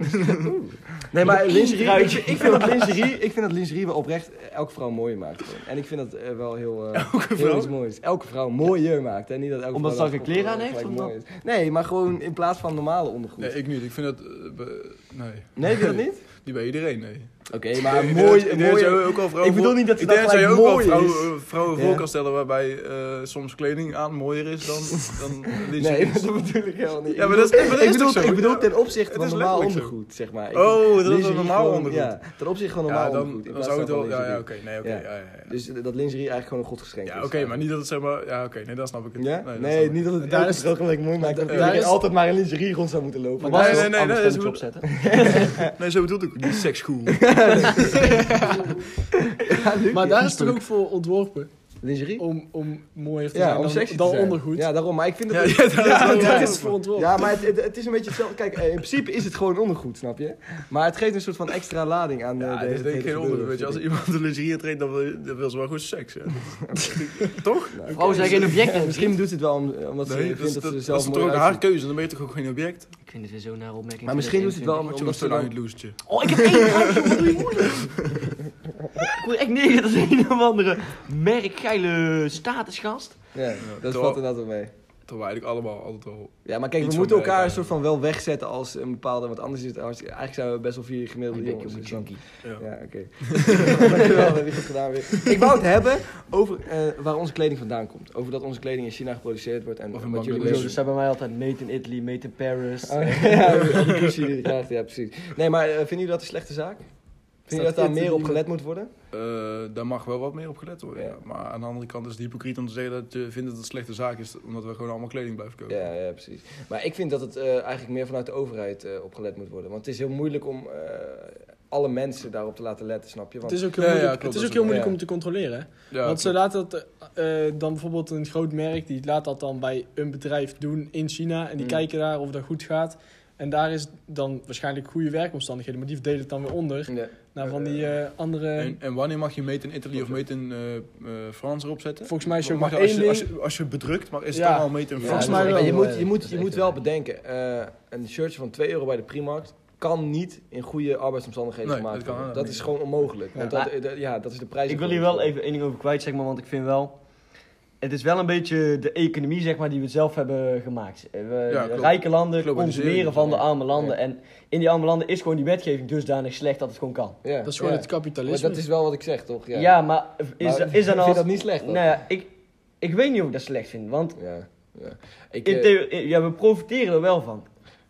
S2: Nee, maar lingerie, ik, vind- ik, vind dat lingerie, ik vind dat lingerie wel oprecht elke vrouw mooier maakt. gewoon. En ik vind dat eh, wel heel, eh, heel
S6: vrouw?
S2: iets moois. Elke vrouw mooier maakt. Hè? Niet dat elke
S3: Omdat
S2: vrouw
S3: ze
S2: dat eh,
S3: weer kleren aan
S2: gelijk
S3: heeft, of
S2: mooi is. Nee, maar gewoon in plaats van normale ondergoed.
S6: Nee,
S2: Nee,
S6: ik niet. Ik vind dat... eh, be- nee.
S2: vind je dat niet?
S6: Die bij iedereen, nee.
S2: Oké, maar
S6: Ik denk dat-
S2: mooi,
S6: ik denk dat je
S2: mooie...
S6: ook al vrouwen
S2: Ik bedoel
S6: voor-
S2: niet dat ze
S6: ik
S2: dat
S6: denk dat je
S2: gelijk
S6: ook al
S2: mooi
S6: vrouwen, vrouwen voor
S2: Ja.
S6: kan stellen waarbij eh, soms kleding aan mooier is dan, dan lingerie.
S2: Nee, dat bedoel ik helemaal niet.
S6: Ja, maar dat is, maar dat
S2: ik
S6: is
S2: bedoel,
S6: toch zo?
S2: ik bedoel ten opzichte
S6: Het
S2: van
S6: is
S2: normaal
S6: letterlijk zo.
S2: ondergoed, zeg maar. Ik
S6: Oh, dat is
S2: vind
S6: wel
S2: lingerie
S6: normaal
S2: gewoon-
S6: ondergoed.
S2: Ja, ten opzichte van normaal
S6: Ja, dan,
S2: ondergoed. in
S6: dan
S2: plaats
S6: zou het
S2: van
S6: wel... Ja, ja
S2: lingerie.
S6: oké. Nee, oké.
S2: Ja.
S6: ja, ja, ja.
S2: Dus dat lingerie eigenlijk gewoon een godsgeschenk
S6: Ja,
S2: is.
S6: oké, maar niet dat het zeg maar... Ja, oké, nee, dat snap ik.
S2: Dus, eh, Ja?
S6: dat
S2: Nee,
S6: snap ik.
S2: niet dat het
S5: Daar
S2: daar
S5: is-
S2: is wel gelijk mooi maakt. Dat
S5: daar
S2: iedereen
S5: is-
S2: altijd maar in lingerie rond zou moeten lopen.
S6: Maar Nee,
S3: Anders-
S6: nee, nee,
S3: anders
S6: dat
S3: kan ik
S6: is goed.
S3: het opzetten.
S6: Nee, zo bedoel ik ook niet seksschool.
S5: Maar daar is het ook voor ontworpen.
S2: lingerie?
S5: Om, om mooier te
S2: Ja,
S5: zijn
S2: om
S5: dan,
S2: sexy
S5: dan
S2: te zijn.
S5: ondergoed.
S2: Ja, daarom. Maar ik vind
S6: ja,
S2: het...
S6: ja, dat is wel-
S5: dat
S6: ja.
S5: is voor ontworpen.
S2: Ja, maar het, het, het is een beetje hetzelfde. Kijk, eh, in principe is het gewoon ondergoed, snap je? Maar het geeft een soort van extra lading aan eh,
S6: Ja,
S2: de
S6: dit is
S2: hele
S6: denk ik geen onderwerp, weet je. Als iemand een lingerie treedt, dan wil, dan wil ze wel goed seks, ja. Toch?
S3: Vrouwen zijn geen objecten.
S2: Ja, misschien doet ze het wel om- omdat ze
S6: Nee, dat,
S2: vindt
S6: is-
S2: dat,
S6: dat,
S2: ze er
S6: dat
S2: zelf
S6: is
S2: mooi
S6: toch ook haar
S2: uitziet.
S6: keuze, dan ben je toch ook geen object?
S3: Ik vind het weer zo naar opmerking.
S2: Maar misschien doet ze het wel
S6: Wat
S2: omdat
S6: je
S2: omdat
S6: was
S2: ze
S6: zo'n
S2: dan...
S6: uitloestertje.
S3: Oh, ik heb één grapje, jongen, doe je moeilijk. Ik word echt negen, dat is een of andere merk geile statusgast.
S2: Ja, dat
S6: toch.
S2: valt inderdaad wel mee.
S6: Terwijl we eigenlijk allemaal altijd wel...
S2: Ja, maar kijk,
S6: Iets
S2: we
S6: van
S2: moeten
S6: merk
S2: elkaar een soort
S6: eigenlijk.
S2: van wel wegzetten als een bepaalde... Want anders is het hartstikke... Eigenlijk zijn we best wel vier gemiddelde
S3: Ik denk,
S2: jongens.
S3: jongen,
S2: dus dan-
S3: junkie.
S2: Ja, oké. Dankjewel, dat heb je goed gedaan weer. Ik wou het hebben over eh, waar onze kleding vandaan komt. Over dat onze kleding in China geproduceerd wordt en
S6: Of in
S2: wat jullie
S6: Bangladesh.
S3: Hoezo, dus zijn bij mij altijd made in Italy, made in Paris.
S2: Oh, ja, die kussen die je krijgt, ja, precies. Nee, maar eh, vinden jullie dat een slechte zaak? Vinden jullie dat daar
S5: dit
S2: meer op
S5: die-
S2: gelet moet worden?
S6: eh, daar mag wel wat meer op gelet worden.
S2: Ja.
S6: ja. Maar aan de andere kant is het hypocriet om te zeggen dat je vindt dat het een slechte zaak is. Omdat we gewoon allemaal kleding blijven kopen.
S2: Ja, ja, precies. Maar ik vind dat het eh, eigenlijk meer vanuit de overheid eh, op gelet moet worden. Want het is heel moeilijk om eh, alle mensen daarop te laten letten, snap je?
S5: Het
S2: Want,
S5: is ook heel
S6: Ja, ja,
S5: moeilijk,
S6: klopt,
S5: het is
S6: dat
S5: ook
S6: is
S5: heel
S6: ook-
S5: moeilijk
S2: ja.
S5: om te controleren. hè?
S6: Ja,
S5: Want ze laten dat eh, eh, dan bijvoorbeeld een groot merk, die laat dat dan bij een bedrijf doen in China. En die
S2: Mm.
S5: kijken daar of dat goed gaat. En daar is dan waarschijnlijk goede werkomstandigheden, maar die verdelen het dan weer onder
S2: Ja.
S5: naar van die eh, andere.
S6: En,
S2: Ehm,
S6: en wanneer mag je made in Italy of made in eh eh, France erop zetten?
S5: volgens mij is er ook
S6: Mag
S5: maar
S6: je, als,
S5: één
S6: je, als,
S5: ding.
S6: je, als je bedrukt, maar is het
S5: Ja.
S6: dan al made in
S2: Ja,
S6: France?
S5: volgens mij
S2: maar
S5: wel.
S2: Je moet, je
S3: Ja,
S2: moet,
S3: dat is
S2: je
S3: echt
S2: moet wel bedenken, eh, een shirtje van 2 euro bij de Primarkt kan niet in goede arbeidsomstandigheden
S6: Nee,
S2: gemaakt
S6: dat kan
S2: worden. Dat
S6: inderdaad
S2: is
S6: niet.
S2: gewoon onmogelijk. Want
S3: Ja.
S2: dat, eh, dat- ja, dat is de prijs.
S3: Ik wil hier wel even één ding over kwijt, zeg maar, want ik vind wel... Het is wel een beetje de economie, zeg maar, die we zelf hebben gemaakt. Eh, We,
S6: Ja,
S3: de
S6: klopt.
S3: rijke landen
S6: Globalisering.
S3: consumeren van de
S2: Ja.
S3: arme landen. En in die arme landen is gewoon die wetgeving dusdanig slecht dat het gewoon kan.
S2: Ja,
S5: Dat is gewoon
S2: ja.
S5: het
S2: Maar
S5: kapitalisme.
S2: dat is wel wat ik zeg, toch?
S3: Ja,
S2: Ja.
S3: maar is,
S2: Maar
S3: is dan
S2: vind je
S3: als...
S2: dat niet slecht dan?
S3: Nou ja, ik, ik weet niet of ik dat slecht vind, want...
S2: Ja. Ja. Ik,
S3: In
S2: eh,
S3: theorie, ja, we profiteren er wel van.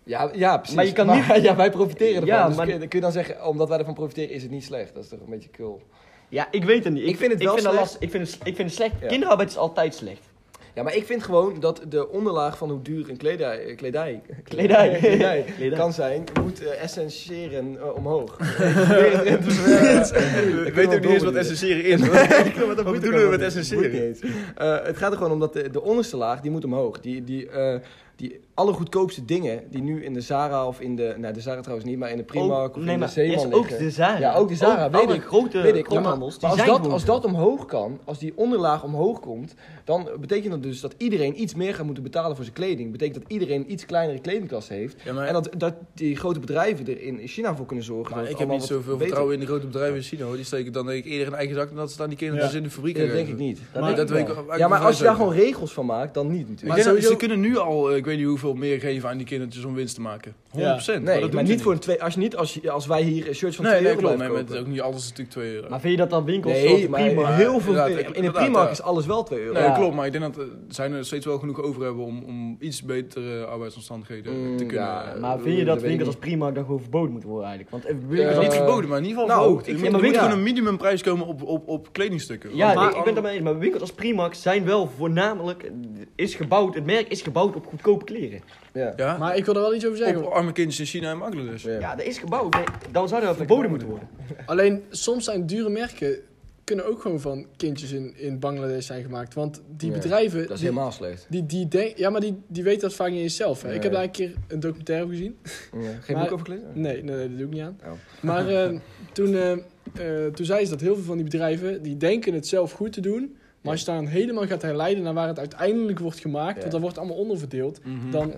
S2: ja, ja, precies.
S3: Maar je kan niet-
S2: Ja, wij profiteren ervan.
S3: Ja,
S2: dus
S3: maar-
S2: kun, je- kun je dan zeggen, omdat wij ervan profiteren, is het niet slecht. Dat is toch een beetje cool.
S3: Ja, ik weet het niet.
S2: Ik vind het wel
S3: ik vind dat
S2: slecht.
S3: lastig. Ik vind het, ik vind het slecht.
S2: Ja.
S3: Kinderarbeid is altijd slecht.
S2: Ja, maar ik vind gewoon dat de onderlaag van hoe duur een kledij, eh, kledij,
S3: Kledij.
S2: kledij
S3: Kledij.
S2: kan zijn, moet eh, essentiëren eh, omhoog. Probeer het erin te verwerken.
S6: Ik
S2: weet
S6: weet
S2: ook
S6: ook niet eens wat essentiëren is. Wat bedoelen we met
S2: Moet niet
S6: essentiëren?
S2: eens. Eh, het gaat er gewoon om dat de, de onderste laag, die moet omhoog. Die, die, eh die allergoedkoopste dingen die nu in de Zara of in de... Nou, de Zara trouwens niet, maar in de Primark
S3: Ook-
S2: of
S3: nee,
S2: in de
S3: maar
S2: Zeeman
S3: is ook
S2: liggen.
S3: de Zara.
S2: Ja, ook de Zara, weet
S3: alle
S2: ik.
S3: grote
S2: Weet ik, ja, maar-
S3: groothandels, eh, die
S2: maar als
S3: zijn
S2: dat,
S3: gewoon
S2: als
S3: zo.
S2: dat omhoog kan, als die onderlaag omhoog komt, dan betekent dat dus dat iedereen iets meer gaat moeten betalen voor zijn kleding. Betekent dat iedereen iets kleinere kledingklasse heeft.
S6: Ja, maar-
S2: en dat, dat die grote bedrijven er in China voor kunnen zorgen.
S6: Maar
S2: dat het
S6: ik heb
S2: allemaal
S6: niet
S2: wat
S6: zoveel
S2: beter-
S6: vertrouwen in de grote bedrijven in China. hoor. Die steken dan denk ik eerder in eigen zak dan dat ze het aan die kinderen
S5: Ja.
S6: dus in de fabriek
S2: Ja, dat denk ik niet.
S3: Dat
S6: Nee,
S3: denk
S6: dat
S3: ik
S6: weet ik
S3: wel.
S6: ook-
S2: Ja, maar als je daar
S6: ook-
S2: gewoon regels van maakt, dan niet natuurlijk.
S6: Ik denk dat-
S5: sowieso-
S6: Ze kunnen nu al, eh, ik weet niet hoeveel meer geven aan die kindertjes om winst te maken. 100%.
S2: Nee,
S6: dat
S2: maar,
S6: doen ze
S2: niet voor een twee. Als, je niet, als, je- als wij hier een shirt van
S6: Nee,
S2: 2
S6: nee,
S2: euro
S6: klopt. Nee,
S2: blijven
S6: maar het is
S2: kopen.
S6: ook niet alles natuurlijk 2 euro.
S3: Maar vind je dat dan winkels
S2: Nee,
S3: zo
S2: maar
S3: prima?
S2: heel veel.
S6: Inderdaad,
S2: in de
S6: inderdaad,
S2: Primark
S6: ja.
S2: is alles wel 2 euro.
S6: Nee,
S3: Ja.
S6: klopt. Maar ik denk dat eh, zijn er steeds wel genoeg over hebben om, om iets betere arbeidsomstandigheden
S2: Mm,
S6: te kunnen... eh,
S2: ja.
S3: Maar vind je
S2: Dat
S3: dat
S2: weet ik
S3: winkels als
S2: niet.
S3: Primark dan gewoon verboden moeten worden eigenlijk? Want eh,
S6: Het is
S3: winkels-
S6: niet
S2: Eh,
S6: verboden, maar in ieder geval
S2: nou,
S6: verhoogd.
S3: ik
S6: Er moet,
S3: vind-
S6: er
S3: maar
S6: moet
S3: ja.
S6: gewoon een minimumprijs komen op, op, op kledingstukken.
S3: ja,
S6: Want
S3: nee,
S6: maar-
S3: ik ben het ermee eens. Maar winkels als Primark zijn wel voornamelijk... eh, Is gebouwd, het merk is gebouwd op goedkope kleren.
S2: Ja.
S6: Ja,
S5: Maar ik wil er wel iets over zeggen.
S6: op arme kindjes in China en Bangladesh.
S2: Ja.
S3: Ja, dat is gebouwd. Nee, dan zou dat verboden moeten worden.
S5: Alleen soms zijn dure merken kunnen ook gewoon van kindjes in, in Bangladesh zijn gemaakt. Want die
S2: Ja,
S5: bedrijven.
S2: Dat is
S5: die,
S2: helemaal slecht.
S5: die, die denk, ja, maar die, die weten dat vaak niet eens zelf. Hè? Ik heb
S2: Nee.
S5: daar een keer een documentaire over gezien.
S2: Geen
S5: Maar-
S2: boek over kleding?
S5: Nee, nee, nee, dat doe ik niet aan.
S2: Oh.
S5: Maar eh, toen, eh, eh, toen zei ze dat heel veel van die bedrijven, die denken het zelf goed te doen.
S2: Ja.
S5: Maar als je daar dan helemaal gaat herleiden naar waar het uiteindelijk wordt gemaakt,
S2: Ja. Hm.
S5: want dat wordt allemaal onderverdeeld,
S6: Mhm.
S5: dan,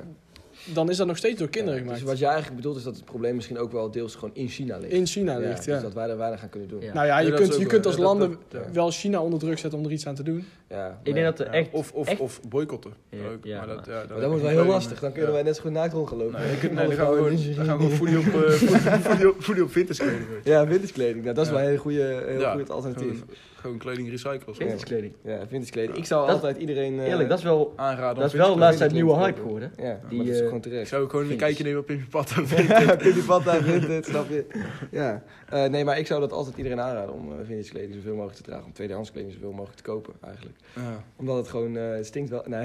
S5: dan is dat nog steeds door kinderen
S2: Ja,
S5: gemaakt.
S2: Dus wat jij eigenlijk bedoelt is dat het probleem misschien ook wel deels gewoon in China ligt.
S5: in China ligt, ja.
S2: Dus dat wij er weinig aan kunnen doen. Ja.
S3: Ja.
S5: Nou ja,
S6: Nee,
S5: je,
S6: dat
S5: kunt,
S6: is ook
S5: je
S6: wel-
S5: kunt als
S6: dat- dat-
S5: landen
S2: ja.
S5: wel China onder druk zetten om er iets aan te doen.
S2: maar
S3: Ik
S2: ja.
S3: denk dat er echt...
S6: Of, of,
S3: echt-
S6: of boycotten.
S3: Ja,
S6: Ook,
S3: ja,
S6: maar dat, ja,
S2: Maar dat wordt wel heel lastig. Dan kunnen wij net zo goed naakt rond gaan lopen.
S6: Nee, dan kunnen- nee,
S2: Alle
S6: dan gaan we
S2: vrouwen in
S6: gewoon- dan
S2: lingerie.
S6: gaan we gewoon voedie op, eh, voedie- voedie op, voedie op vinters kleden.
S2: Ja, winterskleding. Nou, dat is
S6: Ja.
S2: wel een hele goede- heel
S6: Ja.
S2: goed alternatief.
S6: Gewoon, gewoon kleding recyclen.
S2: Ja.
S3: Kleding.
S2: Ja, winterskleding. Ik zou
S3: Dat-
S2: altijd iedereen... eh,
S3: Eerlijk, dat is wel...
S6: Aanraden. om
S3: Dat is
S6: vintage-
S3: wel laatst
S2: ik
S3: een nieuwe
S2: niet.
S3: hype geworden.
S2: Ja, maar
S3: die,
S2: dat is
S3: eh,
S2: gewoon terecht.
S6: Ik zou ook gewoon een
S3: Vintage.
S6: kijkje nemen op Pimpje Pad.
S2: Pippi Panta, Vinted, snap je? Ja. Eh, nee, maar ik zou dat altijd iedereen aanraden om eh vintage kleding zoveel mogelijk te dragen. Om tweedehands kleding zoveel mogelijk te kopen, eigenlijk.
S6: Ja.
S2: Omdat het gewoon eh, het stinkt wel. Nee.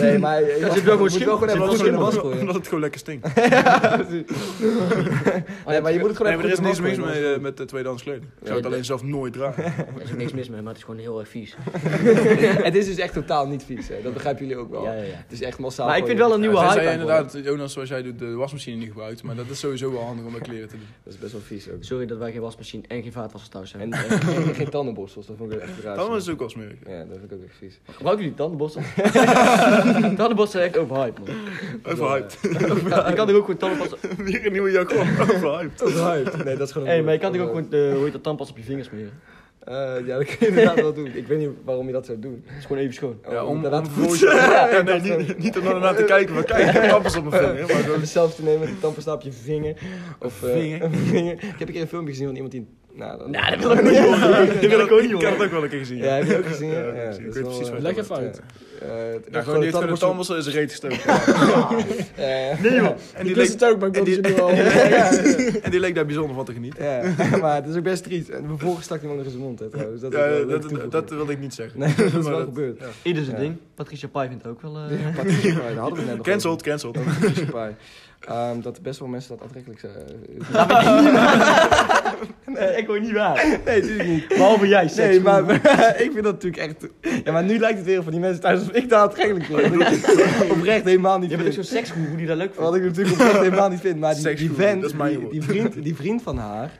S2: nee, maar je,
S3: wel
S2: moet
S3: gewoon
S2: moet
S3: schim-
S2: wel gewoon
S3: zit
S2: even
S3: wel
S2: goed in de was
S6: Omdat
S2: gooien.
S6: omdat het gewoon lekker stinkt.
S2: Ja, precies. nee, maar je moet het gewoon even
S6: Nee, maar er is
S2: goed
S6: niks
S2: in de was
S6: mis
S2: gooien.
S6: mee eh, met de tweedehands kleding. Ik zou het alleen zelf nooit dragen.
S3: Er is niks mis mee, maar het is gewoon heel erg vies.
S2: Het is dus echt totaal niet vies, hè. dat begrijpen jullie ook wel.
S3: Ja, ja, ja.
S2: Het is echt massaal.
S3: Maar ik vind
S2: gooien.
S3: wel een nieuwe
S6: Ja,
S3: hype
S6: Tenzij je
S3: aan worden.
S6: inderdaad, Jonas, zoals jij doet, de wasmachine niet gebruikt. Maar dat is sowieso wel handig om met kleren te doen.
S2: Dat is best wel vies ook.
S3: Sorry dat wij geen wasmachine en geen vaatwasser thuis hebben.
S2: En, en, en geen tandenborstels, dat vond ik echt raar.
S6: Dan is het ook wel smerig.
S2: Ja, dat vind ik ook echt vies.
S3: Gebruiken jullie tandenborstel? tandenborstel zijn echt overhyped, man.
S6: Overhyped.
S3: Ja, je kan toch ook gewoon tandenborstel...
S6: Weer een nieuwe Jacob. Overhyped.
S2: Overhyped. Nee, dat is gewoon
S3: Hé, maar je kan toch ook gewoon, eh, hoe heet dat, tandpas op je vingers smeren?
S2: Eh, ja, dat kun je inderdaad wel doen. Ik weet niet waarom je dat zou doen.
S3: Het is gewoon even schoon.
S2: Oh,
S6: Ja, om, om
S2: inderdaad
S6: vervolgens-
S2: goed.
S6: Ja,
S2: Ja,
S6: nee,
S2: dat is
S6: niet,
S2: gewoon-
S6: niet om dan naar te kijken, maar kijk, ik heb tampers op mijn vinger. Maar
S2: Om
S6: gewoon-
S2: het zelf te nemen, de tandpasta op je vinger. Of eh,
S6: Vinger?
S2: een vinger. Ik heb een keer een filmpje gezien van iemand die... Nou, dat,
S3: dat wil ik niet horen. Dat wil ik ook niet
S6: Ik heb
S3: horen.
S6: het ook wel een keer gezien.
S2: Ja, heb je ook gezien?
S6: Ja,
S2: Ja,
S6: ik heb
S2: ja,
S6: het
S2: dat
S6: gezien.
S2: is
S6: Ik weet
S2: wel,
S6: precies wat
S2: eh,
S6: je
S5: Leg
S6: bedoelt.
S5: even uit.
S2: eh, het-
S6: Ja, gewoon die heeft gewoon
S2: tandpasta-
S6: de tampers in zijn reet gestoken.
S2: Ja, ja.
S6: Nee joh. En
S5: Ik
S6: die leek,
S5: wist het ook, maar ik
S6: en
S5: wilde
S6: die-
S5: jullie wel...
S6: en die leek daar bijzonder van te genieten.
S2: Ja, maar het is ook best triest. En vervolgens stak iemand nog in zijn mond, hè, trouwens. Dat, is
S6: Ja,
S2: wel leuk
S6: dat, dat,
S2: toevoeging.
S6: dat wilde ik niet zeggen.
S2: Nee, dat is
S6: Maar
S2: wel
S6: dat-
S2: gebeurd.
S6: ja.
S3: Ieder zijn
S2: Ja.
S3: ding. Patricia Pai vindt het ook wel... eh,
S2: Ja, Patricia Pai, daar hadden we net nog
S6: Cancelled, cancelled.
S2: over. Patricia Pai. Ehm, dat best wel mensen dat aantrekkelijk zijn.
S3: Nee, ik hoor niet waar.
S2: nee, natuurlijk niet.
S3: Behalve jij, seks.
S2: Nee, maar ik vind dat natuurlijk echt... Ja, maar nu lijkt het weer van die mensen thuis alsof ik daar aantrekkelijk vind. Wat ik Oprecht helemaal niet
S3: Je bent ook
S2: vind.
S3: zo'n seksgoeroe die dat leuk vindt.
S2: Wat ik natuurlijk oprecht helemaal niet vind. Maar die, die
S6: Seksgoeroe,
S2: vent,
S6: dat is mijn
S2: die,
S6: woord.
S2: die vriend, die vriend van haar...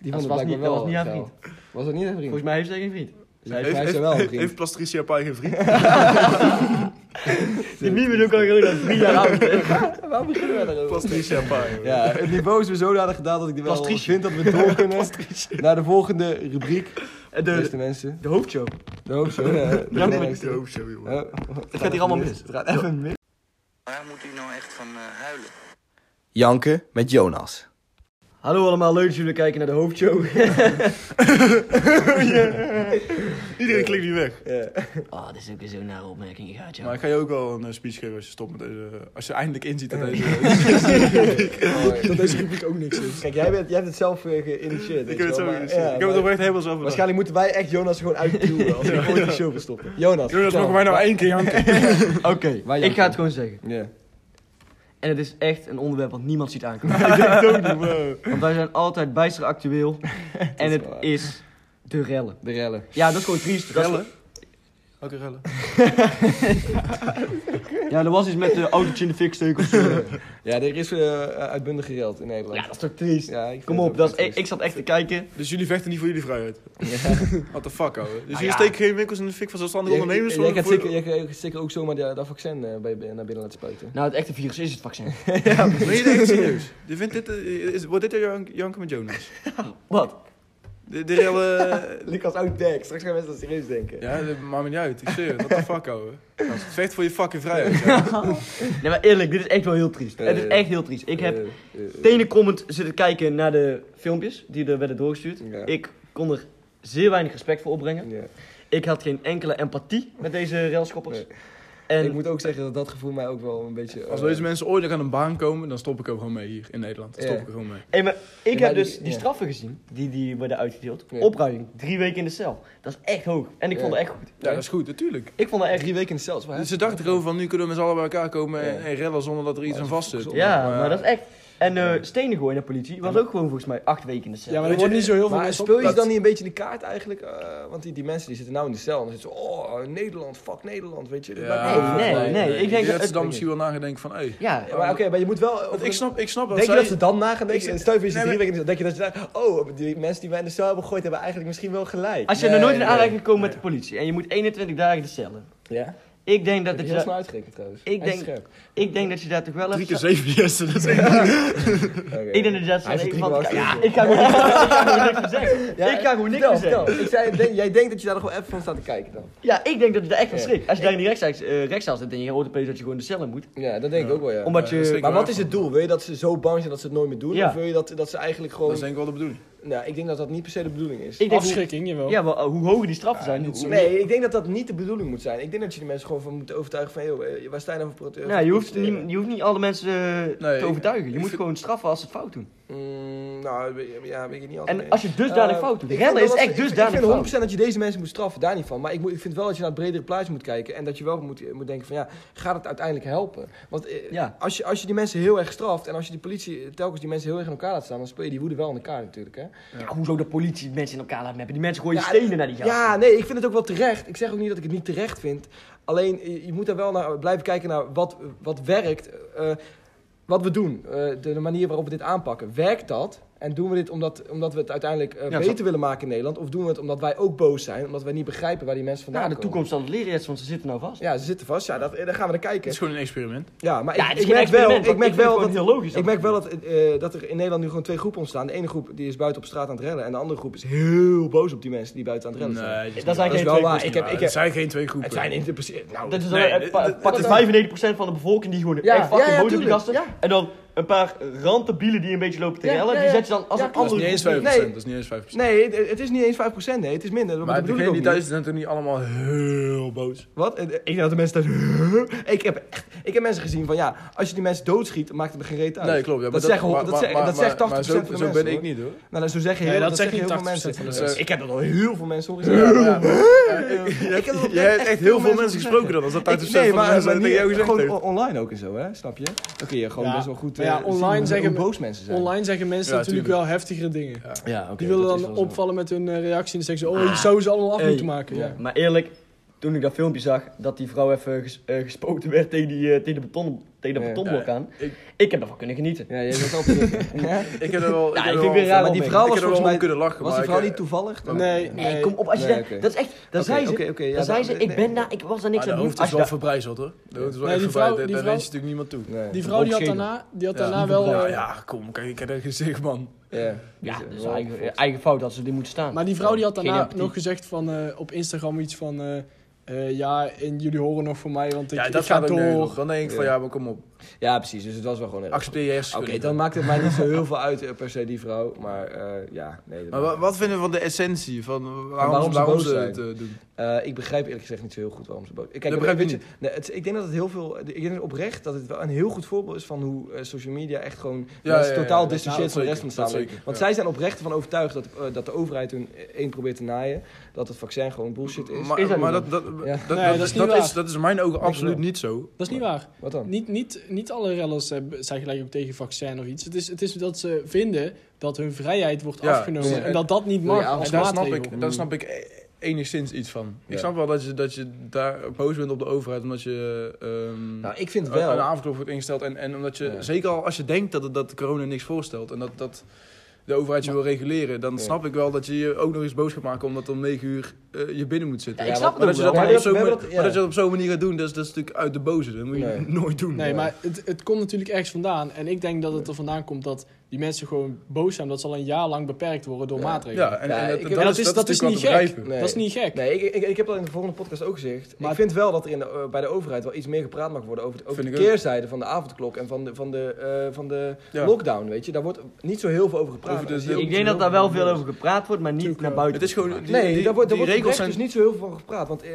S2: Die
S3: Dat
S2: vond het
S3: was
S2: blijkbaar
S3: niet- dat
S2: wel
S3: was niet haar
S2: geil.
S3: vriend.
S2: Was dat niet haar vriend?
S3: Volgens mij heeft zij geen vriend.
S2: Zij
S6: Heeft,
S2: hij is
S6: heeft,
S2: wel een
S6: heeft,
S2: vriend.
S6: Patricia Pai geen vriend?
S3: Die meme doe ik al gewoon dat drie jaar oud. hè.
S2: Waarom beginnen we daarover?
S6: Patricia Pai.
S2: Ja, het niveau is weer zodanig gedaan dat ik er wel
S3: Pastrice.
S2: vind dat we door kunnen naar de volgende rubriek.
S3: En
S2: Beste
S3: De,
S2: mensen,
S3: de hoofdshow.
S2: de hoofdshow. eh, de
S3: Ja, maar-
S2: belangrijkste.
S6: Ik hoop zo, jongen.
S2: Eh,
S3: Het gaat hier allemaal mis.
S2: Het gaat even mis.
S7: Waar moet u nou echt van eh, huilen?
S2: Janken met Jonas.
S3: Hallo allemaal, leuk dat jullie kijken naar de hoofdshow.
S6: Iedereen klinkt nu weg.
S3: Oh, dit is ook weer zo'n nare opmerking. Je gaat
S6: Maar
S3: jou.
S6: ik ga je ook wel een eh, speech geven als je stopt met deze... Als je eindelijk inziet dat deze...
S5: Dat deze rubriek ook niks is.
S2: Kijk, jij, bent, jij hebt het zelf eh, geïnitieerd. weet
S6: Ik heb het
S2: je
S6: zo
S2: wel, maar-
S6: gezien.
S2: ja,
S6: Ik heb het
S2: maar-
S6: oprecht helemaal zelf bedacht.
S2: Waarschijnlijk moeten wij echt Jonas er gewoon uitduwen als we ooit de show verstoppen. Jonas.
S6: Jonas,
S2: vertel.
S6: mogen wij nou één keer janken?
S3: Oké,
S2: Waar
S3: ik
S2: janken?
S3: ga het gewoon zeggen.
S2: Ja.
S3: En het is echt een onderwerp wat niemand ziet aankomen. Want wij zijn altijd bijster actueel. En
S2: is
S3: het
S2: wel waar.
S3: is de rellen.
S2: De rellen.
S3: Ja, dat is gewoon triest. Dat is-
S6: Oké, rellen.
S3: Ja, er was iets met de autootje in de fik steken. of zo.
S2: Ja, er is eh, uitbundig gereld in Nederland.
S3: Ja, dat is toch triest.
S2: Ja, ik vind
S3: Kom
S2: het
S3: op,
S2: ook
S3: dat is, e-
S2: echt
S3: ik, ik zat echt te kijken.
S6: Dus jullie vechten niet voor jullie vrijheid?
S2: triest. Ja.
S6: What the fuck, ouwe. Dus jullie
S3: Ah, ja.
S6: steken geen winkels in de fik van zelfstandige
S2: Jij-
S6: ondernemers?
S2: Jij
S6: voor-
S2: gaat
S6: voor-
S2: zeker, jij gaat zeker ook zomaar dat dat vaccin eh, bij, naar binnen laten spuiten.
S3: Nou, het echte virus is het vaccin.
S6: Meen je dit echt serieus? Je vindt dit, eh, is, wordt dit jouw jank- janken met Jonas?
S3: Wat?
S6: De, de rellen...
S2: Lucas, oud dek. Straks gaan mensen dat serieus denken.
S6: Ja, dat maakt me niet uit. Ik zweer het. What the fuck, ouwe. Vecht voor je fucking vrijheid. ja.
S3: Nee, maar eerlijk, dit is echt wel heel triest.
S2: Eh,
S3: het is echt heel triest. Ik heb tenenkomend zitten kijken naar de filmpjes die er werden doorgestuurd.
S2: Ja.
S3: Ik kon er zeer weinig respect voor opbrengen.
S2: Ja.
S3: Ik had geen enkele empathie met deze railschoppers.
S2: Nee.
S3: En
S2: Ik moet ook zeggen dat dat gevoel mij ook wel een beetje... eh,
S6: Als deze mensen ooit aan een baan komen, dan stop ik er gewoon mee hier in Nederland. Dan stop
S2: Ja.
S6: ik er gewoon mee.
S3: Hey, maar ik
S2: Ja,
S3: heb
S2: maar
S3: dus
S2: die-
S3: die
S2: ja.
S3: straffen gezien, die, die worden uitgedeeld.
S2: Ja.
S3: Opruiming, drie weken in de cel. Dat is echt hoog. En ik
S2: Ja.
S3: vond het echt goed.
S6: Ja, dat is goed, natuurlijk.
S3: Ik vond het echt...
S2: Drie weken in de cel, waar?
S6: Dus ze dachten gewoon van, nu kunnen we met z'n allen bij elkaar komen en,
S2: Ja.
S6: en rellen zonder dat er iets aan vast zit.
S3: Ja, maar dat is echt... En eh, stenen gooien naar politie was ook gewoon volgens mij acht weken in de cel.
S5: Ja, maar er wordt niet zo heel veel
S2: Maar
S5: mensen
S2: speel je ze
S5: opgepakt.
S2: dan niet een beetje in de kaart eigenlijk? Eh, want die, die mensen die zitten nou in de cel en dan zitten ze... Oh, Nederland, fuck Nederland, weet je. Dat lijkt me ook-
S3: nee, nee, nee. Ik denk dat
S6: dat,
S3: het-
S6: ze dan misschien wel nagedenken van, hé. Hey.
S3: Ja,
S2: Ja, maar oké, maar je moet wel...
S6: Want ik snap, ik snap dat
S2: Denk
S6: zij...
S2: je dat ze dan na gaan
S6: Ik
S2: denken?
S6: zeg-
S2: Stel je voor je zit
S6: Nee,
S2: drie weken in de cel. Denk je dat je daar... Oh, die mensen die wij in de cel hebben gegooid hebben eigenlijk misschien wel gelijk.
S3: Als je er nooit in
S2: Nee,
S3: aanraking komt met de politie en je moet 21 dagen de cellen.
S2: Ja?
S3: Ik denk dat,
S2: Dat
S3: dat
S2: is heel
S3: je daar-
S2: snel uitgerekend trouwens.
S3: Ik
S2: Hij is
S3: denk-
S2: scherp.
S3: ik denk dat je daar toch wel
S6: Drie
S3: even...
S6: keer zeven Jesse, dat is echt-
S2: Oké.
S3: Ik denk dat je
S2: Hij
S3: daar zo'n
S2: is
S3: even
S2: drie
S3: van...
S2: keer
S3: Ja,
S2: wel
S3: ik ga gewoon niks- ik ga gewoon niks meer zeggen.
S2: Ja,
S3: Ik ga gewoon niks
S2: vertel,
S3: meer zeggen.
S2: vertel. Ik zei, denk- jij denkt dat je daar nog wel even van staat te kijken dan?
S3: Ja, ik denk dat je daar echt van
S2: Ja.
S3: schrikt. Als je daar in die rechtszaal, eh, rechtszaal zit en je hoort opeens dat je gewoon de cellen moet.
S2: Ja, dat denk ik ook wel, ja.
S3: Omdat
S6: dat is
S3: je...
S6: zeker.
S2: Maar wat is het doel? Wil je dat ze zo bang zijn dat ze het nooit meer doen?
S3: Ja.
S2: Of wil je dat, dat ze eigenlijk
S6: Dat
S2: gewoon...
S6: is denk ik wel de bedoeling.
S2: Nou, ik denk dat dat niet per se de bedoeling is.
S3: Ik denk hoe-
S5: Afschrikking, jawel.
S3: Ja, maar eh, hoe hoger die straffen zijn, hoe...
S2: Nee, ik denk dat dat niet de bedoeling moet zijn. Ik denk dat je de mensen gewoon van moet overtuigen van... joh, eh, waar sta je nou voor prote-
S3: Nou, je hoeft,
S2: protesteren?
S3: niet, je hoeft niet alle mensen eh, te
S6: Nee, ik-
S3: overtuigen. Je
S6: ik
S3: moet
S6: vind-
S3: gewoon straffen als ze het fout doen.
S2: Mm, nou, weet- ja, weet ik niet altijd.
S3: En als je dusdanig
S2: Eh,
S3: fout doet.
S2: ik
S3: Rellen
S2: vind
S3: is
S2: wel dat
S3: echt
S2: ze- ik-
S3: dusdanig
S2: Ik vind 100%
S3: fout.
S2: dat je deze mensen moet straffen, daar niet van. Maar ik, moet, ik vind wel dat je naar het bredere plaatje moet kijken. En dat je wel moet, moet denken van ja, gaat het uiteindelijk helpen? Want eh,
S3: Ja.
S2: als, je, als je die mensen heel erg straft en als je die politie telkens die mensen heel erg in elkaar laat staan, dan speel je die woede wel in elkaar natuurlijk. Hè?
S3: Ja, hoezo de politie mensen in elkaar laat meppen? Die mensen gooien
S2: Ja,
S3: stenen naar die gaten.
S2: Ja, nee, ik vind het ook wel terecht. Ik zeg ook niet dat ik het niet terecht vind. Alleen, je- je moet daar wel naar blijven kijken naar wat, wat werkt. eh, wat we doen, eh, de, de manier waarop we dit aanpakken. Werkt dat? En doen we dit omdat, omdat we het uiteindelijk eh,
S3: Ja,
S2: beter
S3: zo-
S2: willen maken in Nederland? Of doen we het omdat wij ook boos zijn? Omdat wij niet begrijpen waar die mensen vandaan
S3: Nou, de
S2: komen?
S3: toekomst zal het leren, Jets, want ze zitten nou vast.
S2: Ja, ze zitten vast. Ja, dat, eh, daar gaan we naar
S6: Het
S2: kijken.
S6: is gewoon een experiment.
S2: Ja, maar
S3: Ja,
S2: ik,
S3: het is
S2: ik
S3: geen
S2: merk wel, ik
S3: experiment, want
S2: merk
S3: vind
S2: wel
S3: het
S2: dat...
S3: gewoon heel logisch.
S2: Ik merk wel dat, eh, dat er in Nederland nu gewoon twee groepen ontstaan. De ene groep die is buiten op straat aan het rellen. En de andere groep is heel boos op die mensen die buiten aan het rellen zijn.
S6: Nee,
S3: Dat zijn
S2: dat is
S3: geen
S2: wel
S3: twee
S2: waar.
S3: groepen.
S2: Ik heb, ik
S6: nou, het
S2: heb,
S6: zijn geen twee groepen.
S2: het zijn in de precies... Nou,
S3: Dat is
S6: Nee,
S3: dan,
S6: dit-
S3: pa-
S6: dit-
S3: pak
S2: dit-
S3: het 95% van de bevolking die gewoon
S2: Ja,
S3: echt fucking
S2: ja, ja,
S3: boos op die
S2: tuurlijk,
S3: gasten.
S2: ja.
S3: En dan een paar rantebielen die een beetje lopen te
S2: Ja,
S3: rellen.
S2: ja,
S3: Die
S2: ja.
S3: zet je dan als
S2: Ja,
S3: een
S2: klopt.
S6: Dat is
S3: andere...
S6: niet eens 5%.
S2: Nee.
S6: Dat is niet eens 5%.
S2: nee, het, het is niet eens 5%. Nee, het is minder. Dat
S6: Maar
S2: bedoel ik
S6: degene
S2: ook
S6: die
S2: niet.
S6: thuis zijn toch niet allemaal heel boos.
S2: Wat? Eh, Ik denk dat de mensen thuis... ik, heb echt, ik heb mensen gezien van ja, als je die mensen doodschiet, maakt het me geen reet uit.
S6: Nee, klopt. ja,
S2: dat,
S6: maar
S2: zeggen
S6: maar-
S2: dat,
S6: maar-
S2: zeg-
S6: maar-
S2: dat zegt 80%
S6: maar- maar
S2: van
S6: zo-
S2: de mensen.
S6: Zo ben ik
S2: hoor.
S6: niet hoor.
S2: Nou, dat, zo zeggen heel,
S5: Nee,
S2: dat
S5: dat
S2: zeggen
S5: zegt
S2: heel veel
S5: niet 80%
S2: mensen.
S5: van de
S2: Dus
S6: mensen.
S2: Ik heb dat al heel veel mensen horen
S6: Ja,
S2: zeggen.
S6: maar ja,
S2: Ik heb dat
S6: maar-
S2: oprecht
S6: Jij hebt echt heel veel
S2: zeggen.
S6: mensen gesproken dan. Dat dat 50%
S2: Ik-
S6: van de mensen dat
S2: maar
S6: tegen
S2: niet-
S6: jou gezegd
S2: gewoon
S6: heeft.
S2: on- online ook en zo, hè? Snap je? Dan kun je gewoon
S5: Ja.
S2: best wel goed
S5: Maar ja,
S2: eh, zien
S5: online
S2: hoe-
S5: zeggen
S2: hoe
S5: we-
S2: boos mensen zijn.
S5: Online zeggen mensen
S6: Ja,
S5: natuurlijk
S6: tuurlijk.
S5: wel heftigere dingen.
S2: Ja, oké,
S5: Die
S2: dat
S5: willen
S2: is
S5: dan
S2: wel zo.
S5: opvallen met hun eh, reactie en dan
S6: Ah.
S5: zeggen ze, oh, je zou ze allemaal af
S3: Hey.
S5: moeten maken. Ja.
S2: Ja.
S3: Maar eerlijk, toen ik dat filmpje zag, dat die vrouw even ges- eh, gespoten werd tegen, die, eh, tegen, de beton, tegen dat
S2: Ja.
S3: betonblok
S6: Ja.
S3: aan.
S6: Ik-
S3: Ik heb ervan kunnen genieten.
S2: Ja, jij bent altijd. Ja?
S6: Ik heb er wel.
S3: Ja,
S6: heb
S3: ik
S6: er
S3: vind
S6: wel
S3: weer raar
S6: van-
S2: die
S3: opmerking.
S2: vrouw was
S6: ik heb er wel
S2: volgens
S6: om
S2: mij.
S6: kunnen lachen.
S2: Was
S6: maar
S2: die vrouw
S6: ik, eh,
S2: niet toevallig? Dan-
S5: Nee,
S3: Nee,
S5: nee.
S3: kom op. Als je
S2: Nee,
S3: dat,
S2: oké.
S3: dat is echt... Dan
S2: Oké,
S3: zei ze...
S2: oké, oké, ja,
S3: dan zei
S2: dat-
S3: ze,
S2: nee,
S3: ik ben
S2: nee.
S3: daar... Ik was daar
S6: Maar
S3: niks
S6: de
S3: aan het
S6: hoofd
S3: doen. Als
S6: is
S3: je
S6: wel
S3: daar-
S6: verbrijzeld hoor. De hoofd is wel
S5: Nee,
S6: echt verbrijzeld.
S5: die vrouw-
S6: Daar
S5: die
S6: daar
S5: vrouw-
S6: weet je natuurlijk niemand toe.
S2: Nee.
S5: Die vrouw die had
S3: Opschedel.
S5: daarna, die had
S6: Ja.
S5: daarna wel...
S6: Ja,
S5: eh,
S6: ja, kom, kijk, ik heb een gezicht, man.
S2: Ja,
S3: Ja,
S2: Dus, eh,
S3: dat is
S2: wel-
S3: eigen, eh, eigen fout dat ze er moeten staan.
S5: Maar die vrouw die had
S3: Geen
S5: daarna
S3: empathie.
S5: nog gezegd van, eh, op Instagram iets van... eh, eh, ja, en jullie horen nog van mij, want ik,
S6: Ja,
S5: ik
S6: dat
S5: ga
S6: gaat ook nergens
S5: door.
S6: op. Dan denk ik van
S2: Ja.
S6: ja, maar kom op.
S2: Ja, precies. Dus het was wel gewoon erg.
S6: Accepteer je
S2: Oké,
S6: hersenen.
S2: dan maakt het mij niet zo heel veel uit eh, per se die vrouw. Maar eh, ja, nee. dat
S6: Maar
S2: maakt-
S6: wa- wat vinden we van de essentie? Van waarom,
S2: waarom
S6: waarom,
S2: ze boos
S6: ze
S2: zijn?
S6: het eh, doen?
S2: Eh, ik begrijp eerlijk gezegd niet zo heel goed waarom ze boos Kijk,
S6: Dat
S2: ik-
S6: begrijp je
S2: weet je, nee, het- ik denk dat het heel veel. Ik denk oprecht dat het wel een heel goed voorbeeld is van hoe eh, social media echt gewoon
S6: Ja,
S2: mensen
S6: ja, ja,
S2: totaal
S6: ja,
S2: dissocieert
S6: dat
S2: van de rest
S6: zeker,
S2: van de
S6: dat
S2: samenleving.
S6: zeker,
S2: Want
S6: ja.
S2: zij zijn oprecht van overtuigd dat, eh, dat de overheid hun één probeert te naaien. Dat het vaccin gewoon bullshit is.
S6: Maar,
S3: Is dat
S6: maar
S3: niet
S6: dat, dat,
S2: Ja.
S6: dat,
S5: Nee,
S6: dat,
S5: dat is
S6: is,
S5: niet
S6: dat,
S5: waar.
S6: is, dat is in mijn ogen absoluut
S2: wel.
S6: niet zo.
S5: Dat is niet waar.
S2: wat dan?
S5: Niet, niet, niet alle rellers hebben, zijn gelijk ook tegen vaccin of iets. Het is, het is dat ze vinden dat hun vrijheid wordt
S6: Ja,
S5: afgenomen.
S6: dus,
S5: en
S6: eh,
S5: dat dat niet
S2: wil je
S5: mag
S2: af-
S5: als
S6: En daar snap,
S5: maatregel.
S6: ik, daar snap ik e- enigszins iets van. Ik
S2: Ja.
S6: snap wel dat je, dat je daar boos bent op de overheid omdat je ehm,
S2: Nou, ik vind
S6: een
S2: wel.
S6: avondklok wordt ingesteld. En, en omdat je,
S2: Ja.
S6: zeker al als je denkt dat, het- dat corona niks voorstelt en dat, dat de overheid je wil reguleren, dan
S2: Ja.
S6: snap ik wel dat je je ook nog eens boos gaat maken omdat om 9 uur eh, je binnen moet zitten.
S3: Ja, ik
S2: Ja,
S3: snap
S2: wat-
S6: Maar
S3: het
S6: dat,
S3: ook
S6: je
S2: maar
S3: wel.
S6: dat
S2: dat-
S6: dan op zo'n
S2: maar
S6: manier-
S2: dat- ja.
S6: maar dat je dat op zo'n manier gaat doen, dat is, dat is natuurlijk uit de boze. Dat moet je
S2: Nee.
S6: nooit doen.
S5: Nee,
S2: Ja.
S5: maar het, het komt natuurlijk ergens vandaan. En ik denk dat het er vandaan komt dat die mensen gewoon boos zijn. Dat ze al een jaar lang beperkt worden door
S2: Ja.
S5: maatregelen.
S6: Ja, en,
S2: Ja,
S6: en dat,
S2: ik-
S6: dat,
S5: en
S6: is, dat is
S5: niet
S6: natuurlijk wel te
S5: gek.
S6: begrijpen.
S2: Nee.
S5: Dat is niet gek.
S2: Nee, ik, ik, ik heb dat in de volgende podcast ook gezegd. Maar
S5: Maar-
S2: ik vind wel dat er in de, eh, bij de overheid wel iets meer gepraat mag worden over de, over
S6: Vind
S2: de
S6: ik ook.
S2: keerzijde van de avondklok en van de, van de, eh, van de
S6: Ja.
S2: lockdown. Weet je, daar wordt niet zo heel veel over gepraat.
S6: Over de-
S2: Dat is heel-
S3: Ik denk dat daar wel veel over gepraat wordt, maar niet
S5: Tuurlijk,
S3: naar
S5: eh,
S3: buiten.
S6: Het is gewoon, die,
S2: nee,
S6: die,
S2: daar wordt, daar
S6: die
S2: wordt
S6: regels
S2: oprecht
S6: zijn...
S2: dus niet zo heel veel van gepraat. Want eh,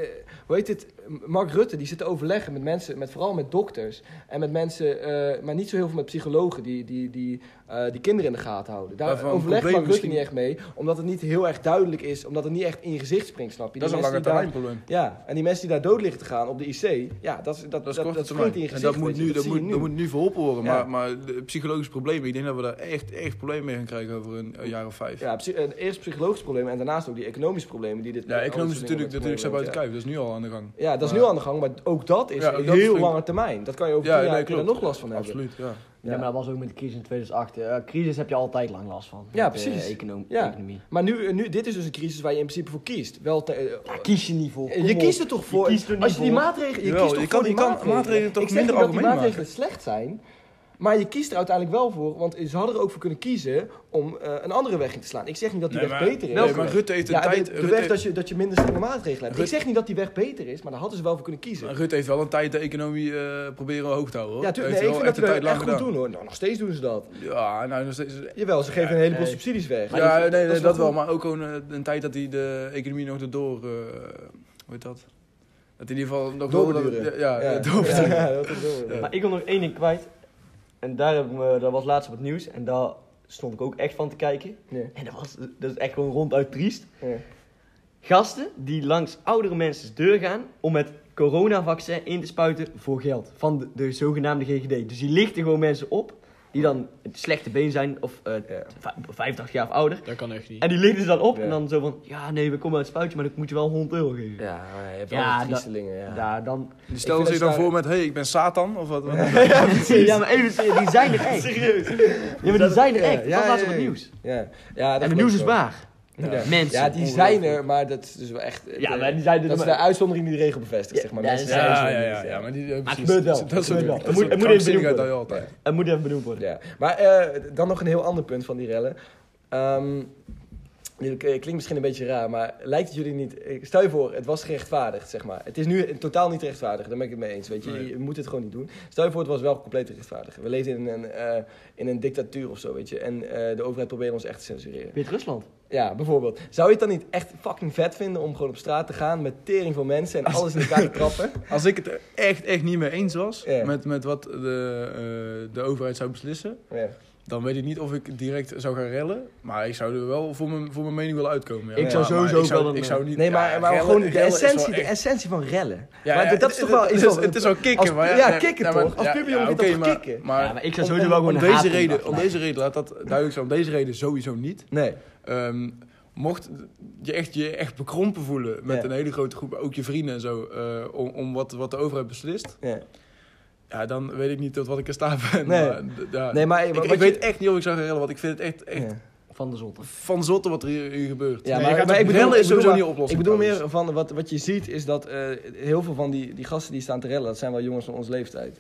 S2: hoe heet dit? Mark Rutte die zit te overleggen met mensen, met, vooral met dokters en met mensen, eh, maar niet zo heel veel met psychologen die, die, die, eh, die kinderen in de gaten houden. Daar
S6: Waarvan
S2: overlegt Mark
S6: problemen
S2: Rutte niet echt
S6: misschien-
S2: mee, omdat het niet heel erg duidelijk is, omdat het niet echt in je gezicht springt, snap je?
S6: Dat is
S2: Die
S6: een
S2: mensen
S6: lange
S2: die daar-
S6: termijn probleem.
S2: Ja, en die mensen die daar dood liggen te gaan op de IC, ja, dat, is- dat,
S6: Dat
S2: dat,
S6: is
S2: dat,
S6: korte
S2: springt in
S6: termijn.
S2: je
S6: En
S2: gezicht.
S6: dat moet
S2: weet je,
S6: nu, dat
S2: zie
S6: moet,
S2: je
S6: dat moet nu verholpen worden.
S2: Ja.
S6: Maar, maar de psychologische problemen, ik denk dat we daar echt, echt problemen mee gaan krijgen over een, een jaar of vijf. Ja,
S2: Ja, psy- eh, eerst psychologische problemen en daarnaast ook die economische problemen die dit... al dit
S6: economisch
S2: soort
S6: natuurlijk,
S2: dingen
S6: natuurlijk zijn
S2: met
S6: buiten
S2: zich
S6: kijf. Dat is nu al aan de gang.
S2: meebrengt. Ja, dat is
S6: Maar-
S2: nu aan de gang, maar ook dat is
S6: Ja,
S2: een
S6: ook dat
S2: heel
S6: vind ik-
S2: lange termijn. Dat kan je over tien jaar kun je er nog last van hebben.
S6: Absoluut, ja.
S3: Ja,
S2: Ja.
S3: maar dat was ook met de crisis in 2008. Eh, crisis heb je altijd lang last van.
S2: Ja,
S3: Met, eh,
S2: precies.
S3: econo-
S2: Ja.
S3: economie.
S2: Maar nu, nu, dit is dus een crisis waar je in principe voor kiest. Wel te- eh,
S3: Daar kies je niet voor. kom
S2: je
S3: op.
S2: kiest er toch voor?
S3: kiest er niet
S2: als je die
S3: voor.
S2: maatregelen. Je
S6: Jawel,
S2: kiest toch
S6: je
S2: voor
S6: kan-
S2: die
S6: je kan
S2: maatregelen.
S6: maatregelen toch
S2: Ik zeg
S6: minder
S2: niet dat die
S6: algemeen
S2: maatregelen slecht zijn. Maar je kiest er uiteindelijk wel voor. Want ze hadden er ook voor kunnen kiezen om eh, een andere weg in te slaan. Ik zeg niet dat die weg beter is.
S6: Nee, maar Rutte heeft een
S2: Ja, de-
S6: tijd...
S2: de,
S6: Rutte
S2: weg
S6: heeft-
S2: dat je, dat je minder strenge maatregelen hebt. Ik
S6: Rutte-
S2: zeg niet dat die weg beter is, maar daar hadden ze wel voor kunnen kiezen.
S6: Rutte heeft wel een tijd de economie eh, proberen hoog te houden. hoor.
S2: ja,
S6: Hij
S2: tuurlijk.
S6: heeft
S2: Nee, ik vind
S6: wel
S2: dat
S6: echt
S2: ze
S6: een
S2: dat
S6: tijd lang
S2: echt goed
S6: gedaan.
S2: doen hoor. Nou, nog steeds doen ze dat.
S6: Ja, nou, nog steeds...
S2: Jawel, ze geven een heleboel
S3: nee.
S2: subsidies weg.
S6: Ja, nee, nee,
S2: dat is
S6: dat,
S2: wel
S6: wel,
S2: goed.
S6: maar ook gewoon eh, een tijd dat hij de economie nog erdoor, eh hoe heet dat? Dat hij in ieder geval nog
S2: Doorbeduren.
S6: door- Ja, ja,
S2: Ja,
S6: doorbeduren.
S2: ja, dat is door.
S6: Ja.
S3: Maar ik wil nog één ding kwijt. En daar heb ik me, dat was laatst op het nieuws. En daar stond ik ook echt van te kijken.
S2: Ja.
S3: En dat, was, dat is echt gewoon ronduit triest.
S2: Ja.
S3: Gasten die langs oudere mensen's deur gaan om het coronavaccin in te spuiten voor geld. Van de, de zogenaamde GGD. Dus die lichten gewoon mensen op Die dan het slechte been zijn of eh
S2: Ja.
S3: vij- 85 jaar of ouder.
S5: Dat kan echt niet.
S3: En die lichten ze dan op
S2: Ja.
S3: en dan zo van, ja nee, we komen uit het spuitje, maar dan moet je wel 100 euro geven.
S2: Ja, maar je hebt
S3: Ja,
S2: wel wat
S3: dat-
S2: griezelingen, ja.
S3: Ja, dan...
S6: Die stellen
S2: vind
S6: zich
S2: dat
S6: dan
S2: ze daar-
S6: voor met, hey, ik ben Satan, of wat?
S3: Ja, maar even, serieus, die zijn er echt. Serieus. Ja, maar die zijn er
S2: Ja,
S3: echt. Dat
S2: ja,
S3: was laatst
S2: ja,
S3: op het
S2: ja.
S3: nieuws.
S2: Ja, ja dat
S3: En het
S2: geloof
S3: nieuws
S2: ik
S3: is
S2: wel.
S3: waar.
S2: Ja.
S3: Mensen.
S2: Ja, die zijn er, maar dat is dus wel echt... eh,
S3: Ja,
S2: de-
S3: maar die zijn er
S2: Dat is de
S3: maar-
S2: uitzondering die de regel bevestigt,
S3: Ja,
S2: zeg maar.
S3: ja,
S2: Mensen
S3: dat
S2: zijn
S3: is-
S2: er
S6: Ja,
S2: zo
S6: ja,
S2: niet,
S6: ja, ja, maar die...
S3: Maar het gebeurt wel. Het
S6: Dat is
S3: gebeurt wel.
S6: natuurlijk-
S3: Het moet-
S6: dat is
S3: het
S6: een
S3: moet even benoemd
S6: krankzinnigheid dat
S3: worden.
S6: je altijd.
S3: Het moet even benoemd worden.
S2: Ja. Maar eh, dan nog een heel ander punt van die rellen. Ehm, dit k- klinkt misschien een beetje raar, maar lijkt het jullie niet... eh, Stel je voor, het was gerechtvaardigd, zeg maar. Het is nu totaal niet rechtvaardig, daar ben ik het mee eens. Weet je?
S6: Nee.
S2: je moet het gewoon niet doen. Stel je voor, het was wel compleet rechtvaardig. We leven in een, eh, in een dictatuur of zo, weet je. En eh, de overheid probeert ons echt te censureren.
S3: Wit-Rusland.
S2: Ja, bijvoorbeeld. Zou je het dan niet echt fucking vet vinden om gewoon op straat te gaan met tering van mensen en alles in elkaar te trappen?
S6: Als ik het er echt, echt niet mee eens was
S2: Ja.
S6: met, met wat de, eh, de overheid zou beslissen,
S2: Ja.
S6: dan weet ik niet of ik direct zou gaan rellen. Maar ik zou er wel voor mijn, voor mijn mening willen uitkomen. Ja.
S3: Ik zou
S6: Maar- maar
S3: sowieso
S6: ik zou,
S3: wel een-
S6: ik zou niet.
S2: Nee, maar,
S6: ja,
S2: maar
S6: rellen-
S2: gewoon de
S6: rellen is wel
S2: essentie, de
S6: echt-
S2: essentie van rellen.
S6: Ja,
S2: maar
S6: ja,
S2: dat, dat is
S6: het-
S2: toch wel...
S6: het is- Het is wel kicken,
S2: als-
S6: maar ja.
S2: ja,
S6: nee,
S2: kicken
S6: nou, maar-
S2: toch? Als
S6: ja,
S2: publiek
S6: ja,
S2: vind je
S6: oké,
S2: dat
S6: maar-
S2: toch kicken?
S6: Maar,
S3: Ja, maar ik zou
S6: om-
S3: sowieso
S6: om-
S3: wel gewoon
S6: om
S3: een
S6: deze
S3: haatpin
S6: reden, Om
S3: afleiden.
S6: deze reden, laat dat duidelijk zijn, om deze reden sowieso niet.
S2: Nee.
S6: Ehm, mocht je echt, je echt bekrompen voelen met
S2: Ja.
S6: een hele grote groep, ook je vrienden en zo, eh, om, om wat, wat de overheid beslist,
S2: Ja.
S6: ja, dan weet ik niet tot wat ik er sta ben.
S2: Nee.
S6: Maar, d- ja.
S2: Nee, maar...
S6: ik
S2: wat
S6: ik
S2: je-
S6: weet echt niet of ik zou gaan rellen, want ik vind het echt, echt
S2: Ja.
S3: Van de zotte.
S6: van zotte wat er hier, hier gebeurt.
S2: Ja,
S5: Nee, je
S2: maar,
S5: gaat
S2: maar ik
S5: toch-
S2: bedoel,
S6: rellen is
S2: ik bedoel
S6: sowieso
S2: maar-
S6: niet oplossend
S2: Ik bedoel meer
S6: trouwens.
S2: van wat, wat je ziet is dat eh, heel veel van die, die gasten die staan te rellen, dat zijn wel jongens van onze leeftijd.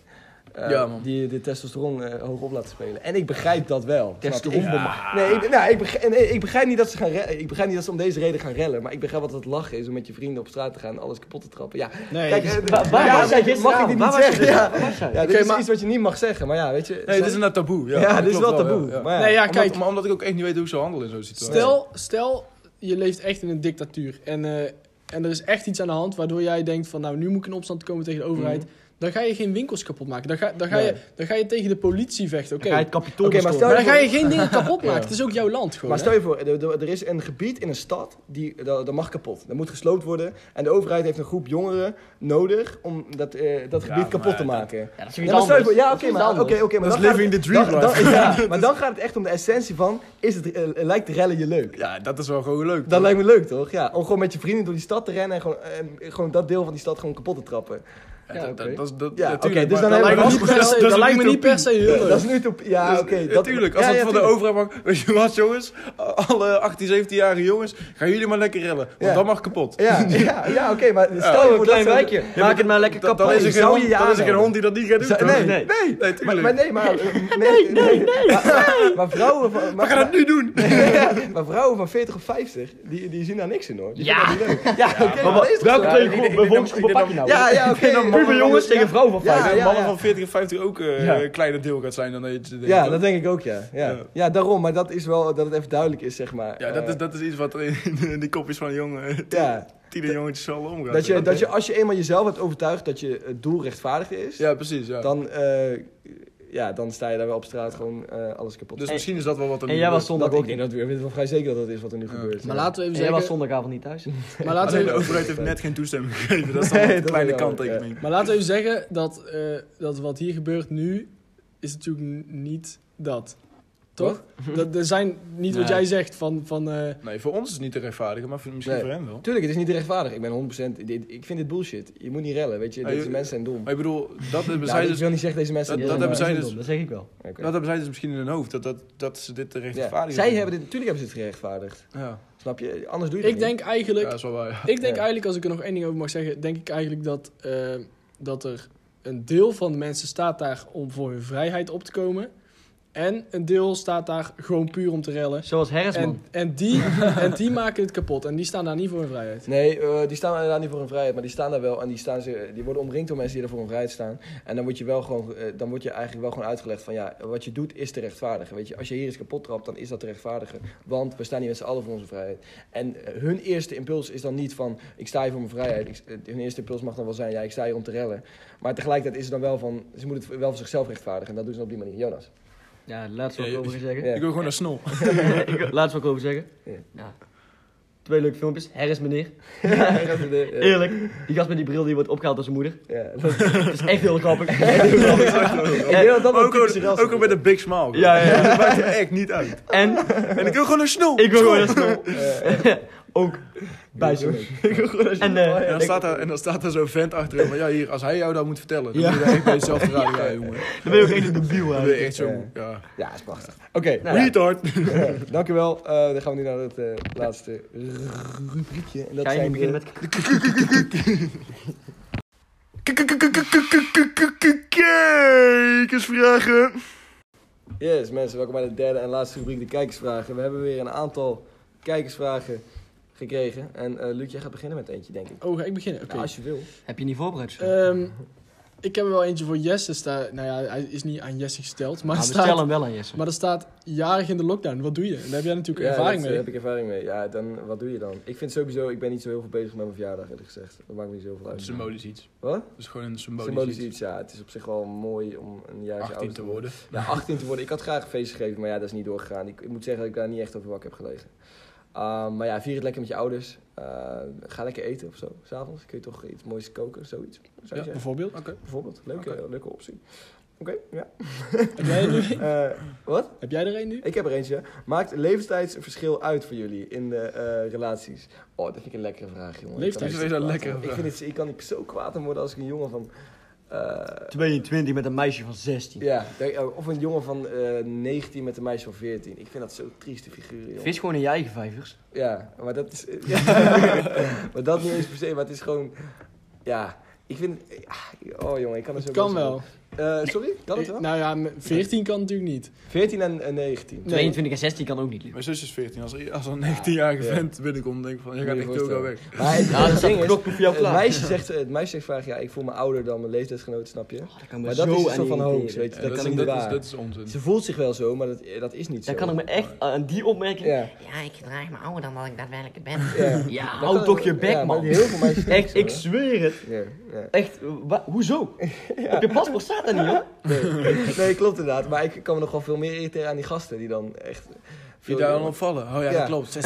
S2: Eh,
S6: Ja, man.
S2: Die de testosteron eh, hoog op laten spelen. En ik begrijp dat wel.
S3: Testosteron.
S2: Snap je? Nee, ik, nou, ik, begrijp, nee, ik begrijp niet dat ze gaan rellen. Ik begrijp niet dat ze om deze reden gaan rellen. Maar ik begrijp wat het lachen is om met je vrienden op straat te gaan en alles kapot te trappen. Ja,
S5: Nee,
S2: kijk,
S5: dat is-
S2: eh,
S3: Waar- waar
S2: ja,
S3: was
S2: mag
S3: jij
S2: ik dit
S3: gisteravond? Waar
S2: niet
S3: was jij
S2: zeggen? Ja,
S3: Waar was jij?
S2: ja, dit
S6: Oké,
S2: is
S6: maar-
S2: iets wat je niet mag zeggen. Maar ja, weet je.
S6: Nee, dit is inderdaad taboe. Ja,
S2: ja,
S6: dat
S2: dit is
S6: klopt
S2: wel taboe.
S6: ja, ja.
S2: Maar ja.
S5: Nee, ja,
S6: Omdat-
S5: kijk.
S6: maar omdat ik ook echt niet weet hoe ik zou handelen in zo'n situatie.
S5: Stel, stel, je leeft echt in een dictatuur en, eh, en er is echt iets aan de hand waardoor jij denkt van nou nu moet ik in opstand komen tegen de overheid.
S6: Mhm.
S5: Dan ga je geen winkels kapot maken. Dan ga, dan ga, je,
S2: Nee.
S5: dan ga je tegen de politie vechten, oké.
S3: Ga je het kapitool
S2: Oké, maar
S3: bestormen?
S5: Maar
S2: stel
S5: dan ga je geen dingen kapot maken. Het is ook jouw land gewoon.
S2: Maar
S5: hè?
S2: stel je voor, er, er- er is een gebied in een stad, die, dat, dat mag kapot. Dat moet gesloopt worden. En de overheid heeft een groep jongeren nodig om dat, eh, dat gebied kapot te maken.
S3: Ja, dat is
S2: Ja,
S3: iets
S2: maar stel je
S3: anders.
S2: voor, ja,
S3: Dat
S2: oké,
S3: is iets
S2: maar,
S3: anders.
S2: oké, oké, maar dan
S6: Dat is
S2: gaat
S6: living
S2: het-
S6: the dream,
S2: dan- dan- ja, maar dan gaat het echt om de essentie van, is het, eh, lijkt rellen je leuk?
S6: Ja, dat is wel gewoon leuk.
S2: Dat
S6: toch?
S2: lijkt me leuk, toch? Ja, om gewoon met je vrienden door die stad te rennen en gewoon, en gewoon dat deel van die stad gewoon kapot te trappen.
S6: Ja,
S5: Ja,
S6: dat-
S5: oké.
S6: dat- dat- dat-
S2: Ja,
S6: ja,
S2: oké,
S6: tuurlijk,
S2: dus
S6: maar
S2: dan
S6: dat
S2: hebben we
S6: lijkt
S5: lijkt me
S6: me
S5: niet per
S6: dat
S5: se, dat
S6: is
S5: lijkt me
S6: een
S5: niet per se heel leuk.
S2: Dat is nu te... Ja, oké. dat-
S6: Natuurlijk, als
S2: ja,
S6: het
S2: ja,
S6: van de
S2: tuurlijk.
S6: overheid mag. Weet je wat, jongens? Alle 18, 17-jarige jongens, gaan jullie maar lekker rellen. Want
S2: Ja.
S6: dat mag kapot.
S2: Ja, ja, ja oké, maar stel je
S6: een
S2: voor dat
S3: Oh, Klein
S2: zo'n-
S3: wijkje. Maak het maar lekker
S6: Dan,
S3: kapot.
S6: dan is er geen
S2: zou je
S6: hond-
S2: je
S6: dan is er geen
S2: aanmelden?
S6: hond die dat niet gaat doen.
S2: Zou-
S6: toch?
S2: nee,
S6: nee, nee,
S2: Maar,
S6: tuurlijk.
S2: maar nee, maar... Nee, nee, Maar, maar vrouwen van...
S6: We
S2: Maar,
S6: gaan het nu doen.
S2: maar, maar vrouwen van 40 of 50, die, die zien daar niks in, hoor. Die
S3: Ja.
S2: vinden dat niet leuk. Ja, oké, maar dat is toch
S3: Welke
S2: zo?
S3: twee groepen? Volksgroepen pak je nou?
S2: Ja, ja, oké.
S3: Puber jongens tegen vrouwen van
S2: Ja,
S6: Ja,
S3: vijf.
S6: ja,
S2: Ah, ja,
S6: mannen
S2: ja.
S6: van 40 en 50 ook eh,
S3: Ja.
S6: een kleiner deel gaat zijn dan dat je denkt. oh.
S2: Ja,
S6: toch?
S2: dat denk ik ook, ja. Ja,
S6: Ja.
S2: ja daarom. Maar dat is wel... Dat het even duidelijk is, zeg maar.
S6: ja, dat,
S2: Eh,
S6: is, dat is iets wat er in, in die kopjes van jongen,
S2: Ja,
S6: tienerjongetjes al omgaat.
S2: dat je, dat je als je eenmaal jezelf hebt overtuigd dat je het doel rechtvaardig is,
S6: Ja, precies. Ja.
S2: dan, eh, ja, dan sta je daar wel op straat gewoon eh, alles kapot.
S6: dus
S2: te
S6: misschien is dat wel wat er
S3: En
S6: nu
S3: jij was
S6: gebeurt.
S2: Dat
S3: zondag
S2: ik ook
S3: ook
S2: denk dat
S3: niet.
S2: we, we wel vrij zeker dat dat is wat er nu gebeurt.
S5: Maar
S2: ja.
S5: laten we
S3: En jij
S5: even zeggen...
S3: was zondagavond niet thuis.
S5: Maar laten,
S6: Alleen de
S5: we,
S6: overheid heeft net geen toestemming gegeven. Dat is dan
S2: Nee,
S6: wel een
S2: dat
S6: kleine
S2: is jammer,
S6: kanttekening.
S5: maar laten we even zeggen dat, eh, dat wat hier gebeurt nu... is natuurlijk n- niet dat. Toch? Dat, er zijn niet wat
S3: Nee.
S5: jij zegt van... van eh,
S6: Nee, voor ons is het niet te rechtvaardigen, maar voor- misschien
S2: Nee.
S6: voor hem wel.
S2: Tuurlijk, het is niet rechtvaardig. Ik ben 100%. Dit, ik vind dit bullshit. Je moet niet rellen, weet je.
S6: Ja,
S2: Deze
S6: Ah, je-
S2: mensen zijn dom.
S6: Maar ik bedoel, dat hebben,
S2: Nou,
S6: zij,
S2: ik
S6: dus,
S2: wil niet zeggen deze mensen
S6: dat-
S2: zijn
S6: dat
S2: dom, maar-
S6: hebben zij
S3: Dat is
S6: dus-
S3: dom, Dat zeg ik wel.
S2: Oké.
S6: dat hebben zij dus misschien in hun hoofd, dat, dat, dat ze dit te
S2: Ja.
S6: rechtvaardigen.
S2: Zij hebben dit, natuurlijk hebben ze het gerechtvaardigd.
S6: Ja,
S2: Snap je? Anders doe je
S5: ik
S2: het
S5: denk eigenlijk...
S6: ja dat is wel waar. ja.
S5: Ik
S2: Ja.
S5: denk eigenlijk, als ik er nog één ding over mag zeggen, denk ik eigenlijk dat, eh, dat er een deel van de mensen staat daar om voor hun vrijheid op te komen. En een deel staat daar gewoon puur om te rellen.
S3: Zoals Harrisman.
S5: En, en, die, en die maken het kapot en die staan daar niet voor hun vrijheid.
S2: niet. Nee, eh, die staan daar niet voor hun vrijheid, maar die staan daar wel en die, staan ze, die worden omringd door mensen die er voor hun vrijheid staan. En dan word je wel gewoon, eh, dan word je eigenlijk wel gewoon uitgelegd van ja, wat je doet is te rechtvaardigen. Weet je, als je hier iets kapot trapt, dan is dat te rechtvaardigen. Want we staan hier met z'n allen voor onze vrijheid. En eh, hun eerste impuls is dan niet van ik sta hier voor mijn vrijheid. Ik, eh, hun eerste impuls mag dan wel zijn, ja, ik sta hier om te rellen. Maar tegelijkertijd is het dan wel van, ze moeten het wel voor zichzelf rechtvaardigen. En dat doen ze op die manier. Jonas.
S3: Ja, laatst wat ik
S6: Ja, je-
S3: over zeggen.
S2: Ja.
S6: Ik wil gewoon naar snel.
S3: Ik- Laatst wat ik over zeggen.
S2: Ja.
S3: Ja. Twee leuke filmpjes. Her is meneer.
S2: gaat het, eh, eh,
S3: Eerlijk. Die gast met die bril die wordt opgehaald door zijn moeder.
S2: Ja, dat-
S3: Dat is echt heel grappig. Heel grappig.
S2: Ik denk dat dat wel
S6: Ook,
S2: typisch
S6: ook,
S2: rassen
S6: ook al met een big smile. bro.
S3: Ja, ja, ja.
S6: Dat maakt er echt niet uit.
S3: En
S6: En ik wil gewoon een snoel.
S3: ik wil gewoon een school.
S2: Eh,
S3: Ook bij zo'n week. En
S6: En
S3: eh,
S6: dan, staat daar, en dan staat daar zo'n vent achter hem. van, Ja, hier, als hij jou dat moet vertellen, dan
S3: Ja.
S6: moet je daar echt bij jezelf raden. Ja, jongen.
S3: dan ben je ook echt een debiel
S6: Dan ben
S3: eigenlijk.
S6: je echt zo...
S2: Eh.
S6: Ja.
S2: ja, is prachtig. Oké,
S3: Nou ja.
S6: Retard.
S2: eh, dankjewel. Eh, dan gaan we nu naar het eh, laatste rubriekje. En dat
S3: Ga je
S2: zijn
S3: niet beginnen met...
S6: Kijkersvragen.
S2: Yes, mensen, welkom bij de derde en laatste rubriek, de kijkersvragen. We hebben weer een aantal kijkersvragen gekregen. En eh Luc, jij gaat beginnen met eentje, denk ik.
S5: Oh, ga ik beginnen? Oké.
S2: Ja, als je wil.
S3: Heb je niet voorbereid?
S5: Ehm, ik heb er wel eentje voor Jesse. Sta, nou ja, hij is niet aan Jesse gesteld. Maar,
S3: Maar
S5: er
S3: bestel
S5: staat,
S3: Nou, hem wel aan Jesse.
S5: maar er staat jarig in de lockdown. Wat doe je? En daar heb jij natuurlijk
S2: Ja,
S5: ervaring
S2: dat, eh,
S5: mee.
S2: heb ik ervaring mee. Ja, dan, wat doe je dan? Ik vind sowieso, ik ben niet zo heel veel bezig met mijn verjaardag, eerlijk gezegd. Dat maakt me niet zoveel uit.
S6: Symbolisch iets.
S2: Wat?
S6: Dat is gewoon een symbolisch,
S2: Symbolisch
S6: iets.
S2: iets, ja. Het is op zich wel mooi om een jaar
S6: 18 te worden.
S2: Ja, 18 te worden. Ik had graag een feestje gegeven, maar ja, dat is niet doorgegaan. Ik, ik moet zeggen dat ik daar niet echt over wakker heb gelegen. Ehm, maar ja, vier het lekker met je ouders. Eh, ga lekker eten of zo. S'avonds kun je toch iets moois koken, zoiets. Zou je zeggen.
S5: Bijvoorbeeld.
S2: Bijvoorbeeld. Leuke, leuke optie. Oké, ja.
S5: Heb jij, er nu-
S2: Eh, wat?
S5: heb jij er een nu?
S2: Ik heb er eentje. Maakt leeftijdsverschil uit voor jullie in de eh, relaties? Oh, dat vind ik een lekkere vraag, jongen. Ik kan
S6: Dat is
S5: Leeftijd?
S2: echt
S6: wel
S2: zo
S6: een
S2: kwaad
S6: lekkere
S2: worden. Ik,
S6: vraag.
S2: vind het, ik kan ik zo kwaad om worden als ik een jongen van... eh,
S3: 22 met een meisje van 16.
S2: ja, daar- of een jongen van eh, 19 met een meisje van 14. Ik vind dat zo'n trieste figuur, jongen.
S3: Vis gewoon in je eigen vijvers.
S2: Ja, maar dat is... eh, maar dat niet eens per se, maar het is gewoon... Ja, ik vind... ah, Oh, jongen, ik kan er zo
S5: Het kan
S2: boos om
S5: wel.
S2: worden. Eh, sorry? Kan het wel?
S5: Nou ja, met 14 kan natuurlijk niet.
S2: 14 en, en 19.
S3: 22 en 16 kan ook niet lukken.
S6: Mijn zus is 14. Als, er- als er een 19-jarige
S2: Ja.
S6: vent binnenkomt, denk ik van, jij gaat
S2: Moet je
S6: echt ook al
S2: voorstellen.
S6: weg.
S2: Maar het,
S3: Ja,
S2: het
S3: dat staat
S2: ding
S3: een
S2: is,
S3: knop voor jou
S2: het
S3: klaar.
S2: meisje zegt, het meisje zegt vaak, ja, ik voel me ouder dan mijn leeftijdsgenoot, snap je?
S3: Oh, dat kan me
S2: Maar dat
S3: zo
S2: is
S3: aan
S2: zo van
S3: irriteren.
S2: hoax, weet je,
S6: Ja,
S2: dat
S6: dat,
S2: kan
S6: is,
S2: ik niet
S6: dat, is,
S2: waar.
S6: dat is onzin.
S2: Ze voelt zich wel zo, maar dat, eh, dat is niet
S3: Daar
S2: zo.
S3: kan ik me echt aan die opmerking.
S2: Ja,
S8: Ja, ik gedraag me ouder dan dat ik daadwerkelijk ben.
S2: ja.
S3: Ja,
S2: Dat
S3: hou
S2: kan-
S3: toch je bek,
S2: ja, maar
S3: man.
S2: Heel veel meisjes doen
S3: Echt,
S2: zo,
S3: ik
S2: hè.
S3: zweer het.
S2: Ja, ja.
S3: Echt, eh, wa- hoezo? Op je paspoort staat dat niet, hoor.
S2: Nee. nee, klopt inderdaad. Maar ik kan me nog wel veel meer irriteren aan die gasten die dan echt...
S6: Vind je daar dan opvallen? Oh ja,
S2: Ja.
S6: dat klopt. Ze is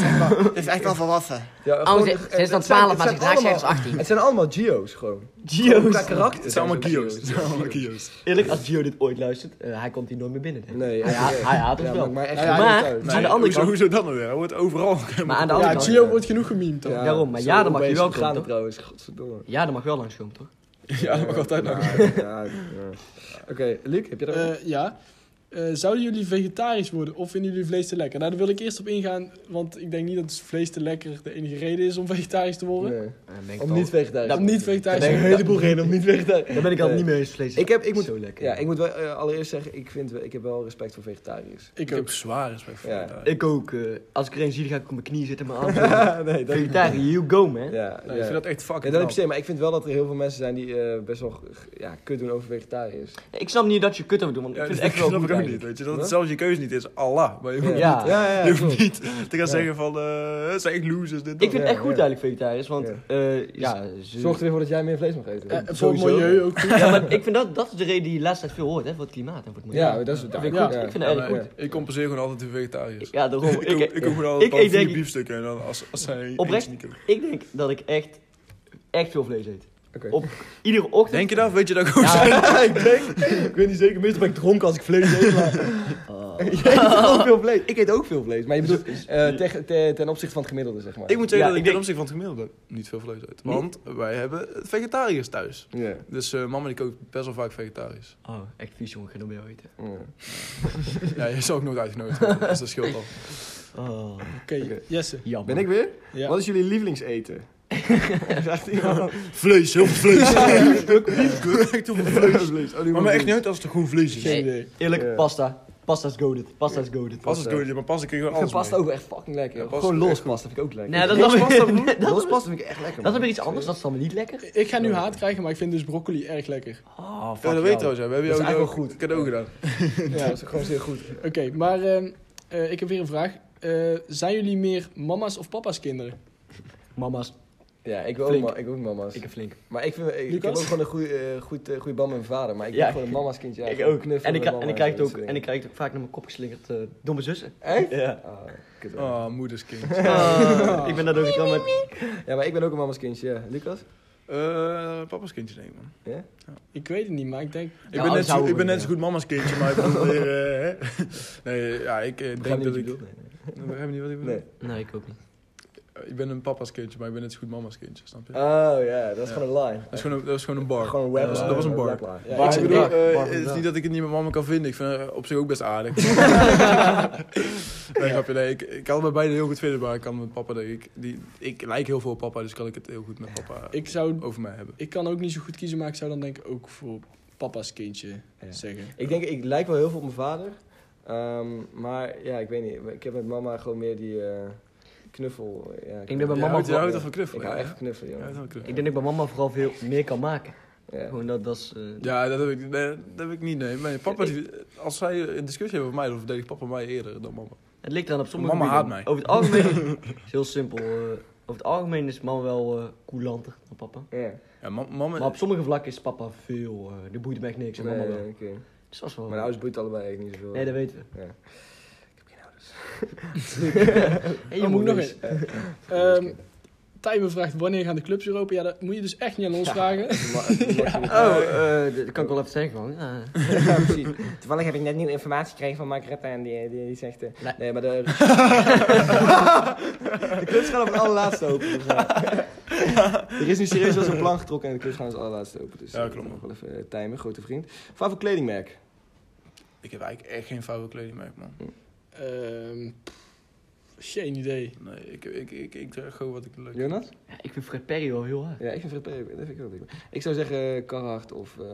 S8: is echt wel volwassen.
S2: Ja,
S8: Oh,
S2: gewoon-
S8: ze, ze is dan
S2: het zijn-
S8: 12,
S2: het
S8: maar
S2: zijn
S8: ze gedraagt zich als
S2: allemaal-
S8: 18.
S2: Het zijn allemaal Gio's gewoon. Ook Qua
S3: Gio's.
S2: karakter.
S6: Het zijn allemaal
S2: ze
S6: Gio's. Het zijn allemaal Gio's.
S3: Eerlijk, als Gio dit ooit luistert, eh, hij komt hier nooit meer binnen. denk ik.
S2: Nee,
S3: hij,
S2: echt
S3: haat-
S2: niet.
S3: hij haat ons
S2: Ja,
S3: wel.
S2: maakt mij echt
S3: Maar-
S2: geen reet uit.
S3: aan de andere
S6: hoezo,
S3: kant,
S6: hoezo dan nou weer? Hij wordt overal.
S3: maar aan de andere
S5: Ja,
S3: kant,
S5: Gio wordt genoeg gememd dan.
S2: Ja.
S3: daarom, maar ja, dan mag je wel
S2: gaan
S3: komen,
S2: het
S3: toch?
S2: trouwens, godverdomme.
S3: Ja, dan mag wel langskomen, toch?
S6: Ja, dat mag altijd nog.
S2: Ja, ja, ja. Oké, Luc, heb je er
S5: Eh, ja. Eh, zouden jullie vegetarisch worden of vinden jullie vlees te lekker? Nou, daar wil ik eerst op ingaan, want ik denk niet dat vlees te lekker de enige reden is om vegetarisch te worden.
S2: Nee.
S3: Eh, ben ik
S2: Om
S3: wel-
S2: niet vegetarisch.
S5: Om niet vegetarisch te
S3: Nee,
S5: worden.
S3: heleboel
S2: redenen om niet vegetarisch.
S3: Daar ben ik al
S2: Nee.
S3: niet mee eens, vlees. is
S2: Eh, Ik heb, ik moet,
S3: zo lekker.
S2: ja, ik moet wel eh, allereerst zeggen, ik, vind, wel- ik heb wel respect voor vegetariërs.
S5: Ik
S6: Ik heb
S5: ook.
S6: zwaar respect voor
S2: Ja.
S6: ja.
S3: Ik ook. eh, als ik er een zie, dan ga ik op mijn knie zitten, mijn armen.
S2: nee,
S3: Vegetariër, you go, man.
S2: Ja,
S6: Nee, ik
S2: ja.
S6: vind dat echt
S2: Ja,
S6: fucking
S2: dat heb
S6: knap.
S2: Nou, je zin, maar ik vind wel dat er heel veel mensen zijn die eh, best wel g- ja, kut doen over vegetariërs.
S3: Ik snap niet dat je kut over doet, want ik
S6: Ja,
S3: vind
S6: dat
S3: het echt wel
S6: snap
S3: goed
S6: ik ook niet,
S3: eigenlijk.
S6: weet je. Dat het zelfs je keuze niet is. Allah. Maar je hoeft,
S3: Ja.
S2: ja,
S6: je
S2: ja,
S6: hoeft
S2: klopt.
S6: niet te gaan zeggen van... eh, Het zijn echt losers, dit,
S3: Ik
S6: dat.
S3: vind het
S2: Ja,
S3: echt goed
S2: ja.
S3: eigenlijk vegetariërs, want
S2: Ja. Dus
S3: eh, ja, ze-
S2: Zorg er weer voor dat jij meer vlees mag eten.
S5: Eh, voor het
S2: Sowieso.
S5: milieu ook goed.
S3: ja, maar ik vind dat, dat is de reden die je de laatste tijd veel hoort, hè, voor het klimaat en voor het milieu.
S2: Ja, dat is het.
S5: Dat vind ik
S2: ja.
S5: goed.
S3: Ik vind
S6: Ja,
S3: het
S6: maar
S3: eigenlijk goed.
S6: Ik compenseer gewoon altijd de vegetariërs.
S3: Ja, daarom.
S6: Ik, koop- ik,
S3: Ik,
S6: koop gewoon
S3: ik
S6: altijd ik
S3: eet denk
S6: vier
S3: ik-
S6: biefstukken en dan als, als zij
S3: Oprecht?
S6: eentje niet kopen.
S3: ik denk dat ik echt, echt veel vlees eet.
S2: Oké.
S3: Op iedere ochtend.
S6: Denk je dat? Weet je dat ook?
S3: Ja,
S2: ik, denk, ik weet niet zeker, meestal ben ik dronken als ik vlees eet, maar... Jij eet toch
S3: Oh.
S2: ook veel vlees? Ik eet ook veel vlees, maar je bedoelt eh, teg- te- ten opzichte van het gemiddelde, zeg maar.
S6: Ik moet zeggen
S3: Ja,
S6: dat ik
S3: ik
S6: ten
S3: denk-
S6: opzichte van het gemiddelde niet veel vlees uit. Want wij hebben vegetariërs thuis.
S2: Ja.
S6: Dus eh mama die kookt best wel vaak vegetarisch.
S3: Oh, echt vies jongen, geen om jou eten.
S2: ja.
S6: ja, je zal ook nooit uitgenodigd worden, dus dat scheelt al.
S3: Oh,
S5: Oké, Jesse.
S3: jammer.
S2: Ben ik weer?
S5: Ja.
S2: Wat is jullie lievelingseten? Zegt iemand.
S6: Vlees, heel veel vlees. Echt heel veel
S2: Oh,
S6: vlees. Maar me echt niet uit als het er gewoon vlees is.
S5: Geen idee.
S3: Eerlijk,
S2: Ja.
S3: pasta. Pasta is goaded. Pasta is goaded.
S6: Pas het doorje, maar pas ik kun je
S2: Ik
S6: gewoon
S2: vind
S6: alles
S2: pasta
S6: mee.
S2: ook echt fucking lekker.
S6: Ja, pasta
S2: Gewoon
S6: is
S2: los
S6: echt goed.
S2: pasta vind ik ook lekker.
S3: Nee, dat is
S2: Los
S3: dan weer-
S2: pasta, broer.
S3: dat-
S2: Los pasta vind ik echt lekker.
S3: Dat is
S2: man.
S3: weer iets anders, dat is dan weer niet lekker.
S5: Ik ga nu haat krijgen, maar ik vind dus broccoli erg lekker.
S3: Oh, fuck
S6: Ja, dat
S3: jou.
S6: weet je trouwens. ja. We hebben
S2: Dat
S6: jou
S2: is
S6: ook
S2: eigenlijk wel goed.
S6: cadeau gedaan.
S2: Ja, dat is gewoon zeer goed.
S5: dus, Oké, maar ehm, eh, ik heb weer een vraag. Eh, zijn jullie meer mama's of papa's kinderen?
S3: Mama's.
S2: Ja, ik wil ook,
S3: Flink.
S2: ma- ik wil ook mama's.
S3: Ik heb flink.
S2: Maar ik, vind, ik, ik heb
S5: Lucas?
S2: ook gewoon een goede eh goed, eh, goede band met mijn vader. Maar ik
S3: Ja,
S2: ben gewoon een mama's kindje. ja.
S3: ik
S2: Gewoon
S3: ook. En ik,
S2: knuffelen met
S3: krijg- en,
S2: mama
S3: ik krijg het
S2: dat
S3: ook,
S2: soort
S3: en ik
S2: dingen.
S3: krijg het ook vaak naar mijn kop geslingerd. eh, domme zussen.
S2: Echt?
S3: Ja.
S2: Ah, kut, hoor.
S6: Oh, moederskind.
S2: Ah.
S3: ik ben dat ook getraumatiseerd.
S2: Ja, maar ik ben ook een mama's kindje. ja. Lucas?
S6: Eh, papa's kindje, denk ik, man.
S5: Ik weet het niet, maar ik denk...
S6: Ik
S3: Ja,
S6: ben,
S3: anders
S6: net zo,
S3: houden
S6: ik
S3: we
S6: ben net
S3: het,
S6: zo goed mama's kindje, maar ik bedoel weer... eh, hè. nee, ja, ik eh,
S2: Begrijp
S6: denk
S2: je wat
S6: dat ik...
S2: je bedoelt? Nee.
S6: Ik begrijp niet wat ik bedoel. Eh,
S2: Nee.
S3: Nee, ik ook niet.
S6: Ik ben een papa's kindje, maar ik ben net zo goed mama's kindje, snap je?
S2: Oh ja, dat is gewoon een lie.
S6: dat, is gewoon een, dat is gewoon een bar.
S2: Gewoon een
S6: dat,
S2: web.
S6: was, dat was een bar.
S2: Ja,
S6: Maar
S2: ik
S6: ik bedoel,
S2: bedoel...
S6: eh,
S3: Bar van
S6: het is
S3: Dijk.
S6: niet dat ik het niet met mama kan vinden. Ik vind het op zich ook best aardig. nee, grapje, nee. Ik, ik kan het met beide heel goed vinden, maar ik kan met papa denk ik... Die, ik lijk heel veel op papa, dus kan ik het heel goed met papa
S5: Ik zou...
S6: over mij hebben.
S5: Ik kan ook niet zo goed kiezen, maar ik zou dan denk ik ook voor papa's kindje
S2: Ja.
S5: zeggen.
S2: Ik denk, ik lijk wel heel veel op mijn vader. Ehm, maar ja, ik weet niet. Ik heb met mama gewoon meer die eh, knuffel. Ja,
S3: Ik denk bij
S6: Je
S3: mama
S6: houdt, je
S3: vooral-
S6: houdt al van knuffelen.
S2: Ik hou
S6: hè?
S2: echt van knuffelen,
S6: Je houdt
S2: jongen.
S6: al van knuffelen.
S3: Ik denk dat ik bij mama vooral veel meer kan maken.
S2: Ja.
S3: Gewoon dat, dat is... eh,
S6: Ja, dat heb ik, nee, dat heb ik niet, nee. Mijn papa, die, als zij een discussie hebben met mij, dan verdedigt papa mij eerder dan mama.
S3: Het ligt eraan op sommige
S6: Mama
S3: gebieden.
S6: haat mij.
S3: Over het algemeen is heel simpel. eh, over het algemeen is mama wel eh coulanter dan papa.
S2: Ja.
S6: Ja, ma- mama...
S3: Maar op sommige vlakken is papa veel. eh de boeit hem echt niks. En mama
S2: Nee, nou
S3: wel.
S2: oké.
S3: Dus dat is wel.
S2: Mijn ouders boeit allebei eigenlijk niet zoveel.
S3: Nee, dat weten we.
S2: Ja.
S3: Hey,
S5: Oh, moet ik nog
S3: eens.
S5: eens. Ehm Tijmen vraagt wanneer gaan de clubs weer open? Ja, dat moet je dus echt niet aan ons vragen.
S3: Oh, eh, dat kan ik wel even zeggen gewoon. Ja.
S2: Ja, precies. Toevallig heb ik net nieuwe informatie gekregen van Mark Rutte en die, die, die zegt... eh,
S3: Nee.
S2: Nee, maar de... de clubs gaan op het allerlaatste open. dus, eh, er is nu serieus wel zo'n plan getrokken en de clubs gaan op het allerlaatste open. Dus
S6: Ja,
S2: eh,
S6: klopt.
S2: dat is nog wel even eh, timen, grote vriend. Favoriet kledingmerk?
S6: Ik heb eigenlijk echt geen vouwe kledingmerk, man.
S5: Ehm pff, geen idee.
S6: Nee, ik, ik, ik, ik draag gewoon wat ik leuk vind.
S2: Jonas?
S3: Ja, ik vind Fred Perry wel heel hard.
S2: Ja, ik vind Fred Perry- dat vind ik wel leuk. Ik zou zeggen eh, Carhartt of eh,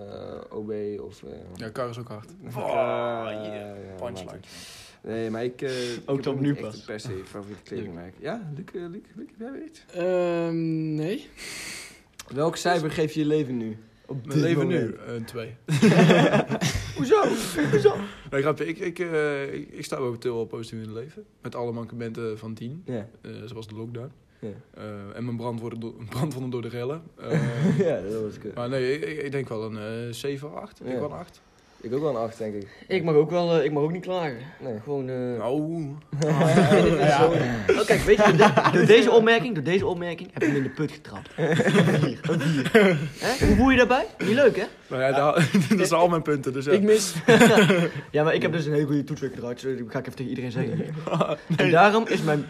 S2: OB of... eh,
S6: Ja, kar is ook hard.
S2: Kra- ja,
S6: Punchline.
S2: Maarten. Nee, maar ik... eh, ik
S3: Ook
S2: heb
S3: dan
S2: niet
S3: nu
S2: echt
S3: pas.
S2: een per se favoriet kledingmerk. Ja, Luc, eh, Luc, Luc, heb jij weer iets?
S5: Ehm nee.
S2: Welk cijfer geef je je leven nu? Op
S6: Mijn leven nu, een twee.
S2: Hoezo? Hoezo?
S6: Nee, grapje, ik, ik, eh, ik, ik sta momenteel wel positief in het leven. Met alle mankementen van tien,
S2: Ja,
S6: eh, zoals de lockdown.
S2: Ja.
S6: Eh, en mijn brandwonden door, brandwonden door de rellen. Eh,
S2: ja dat was kut.
S6: maar nee, ik, ik- ik denk wel een eh 7 of 8. Ik
S2: Ja.
S6: wel een 8.
S2: Ik ook wel een 8, denk ik.
S3: Ik mag ook wel, eh, ik mag ook niet klagen.
S2: Nee.
S3: Gewoon. eh,
S6: Nou,
S3: Oh, kijk, weet je, door- door deze opmerking, door deze opmerking heb je hem in de put getrapt. Een vier, een vier. Hè? Hoe voel je daarbij? Niet leuk, hè?
S6: nou ja, dat- dat zijn al mijn punten. Dus ja.
S5: Ik mis.
S3: Ja, maar ik heb dus een hele goede toetsweek eruit, dus dat ga ik even tegen iedereen zeggen. En daarom is mijn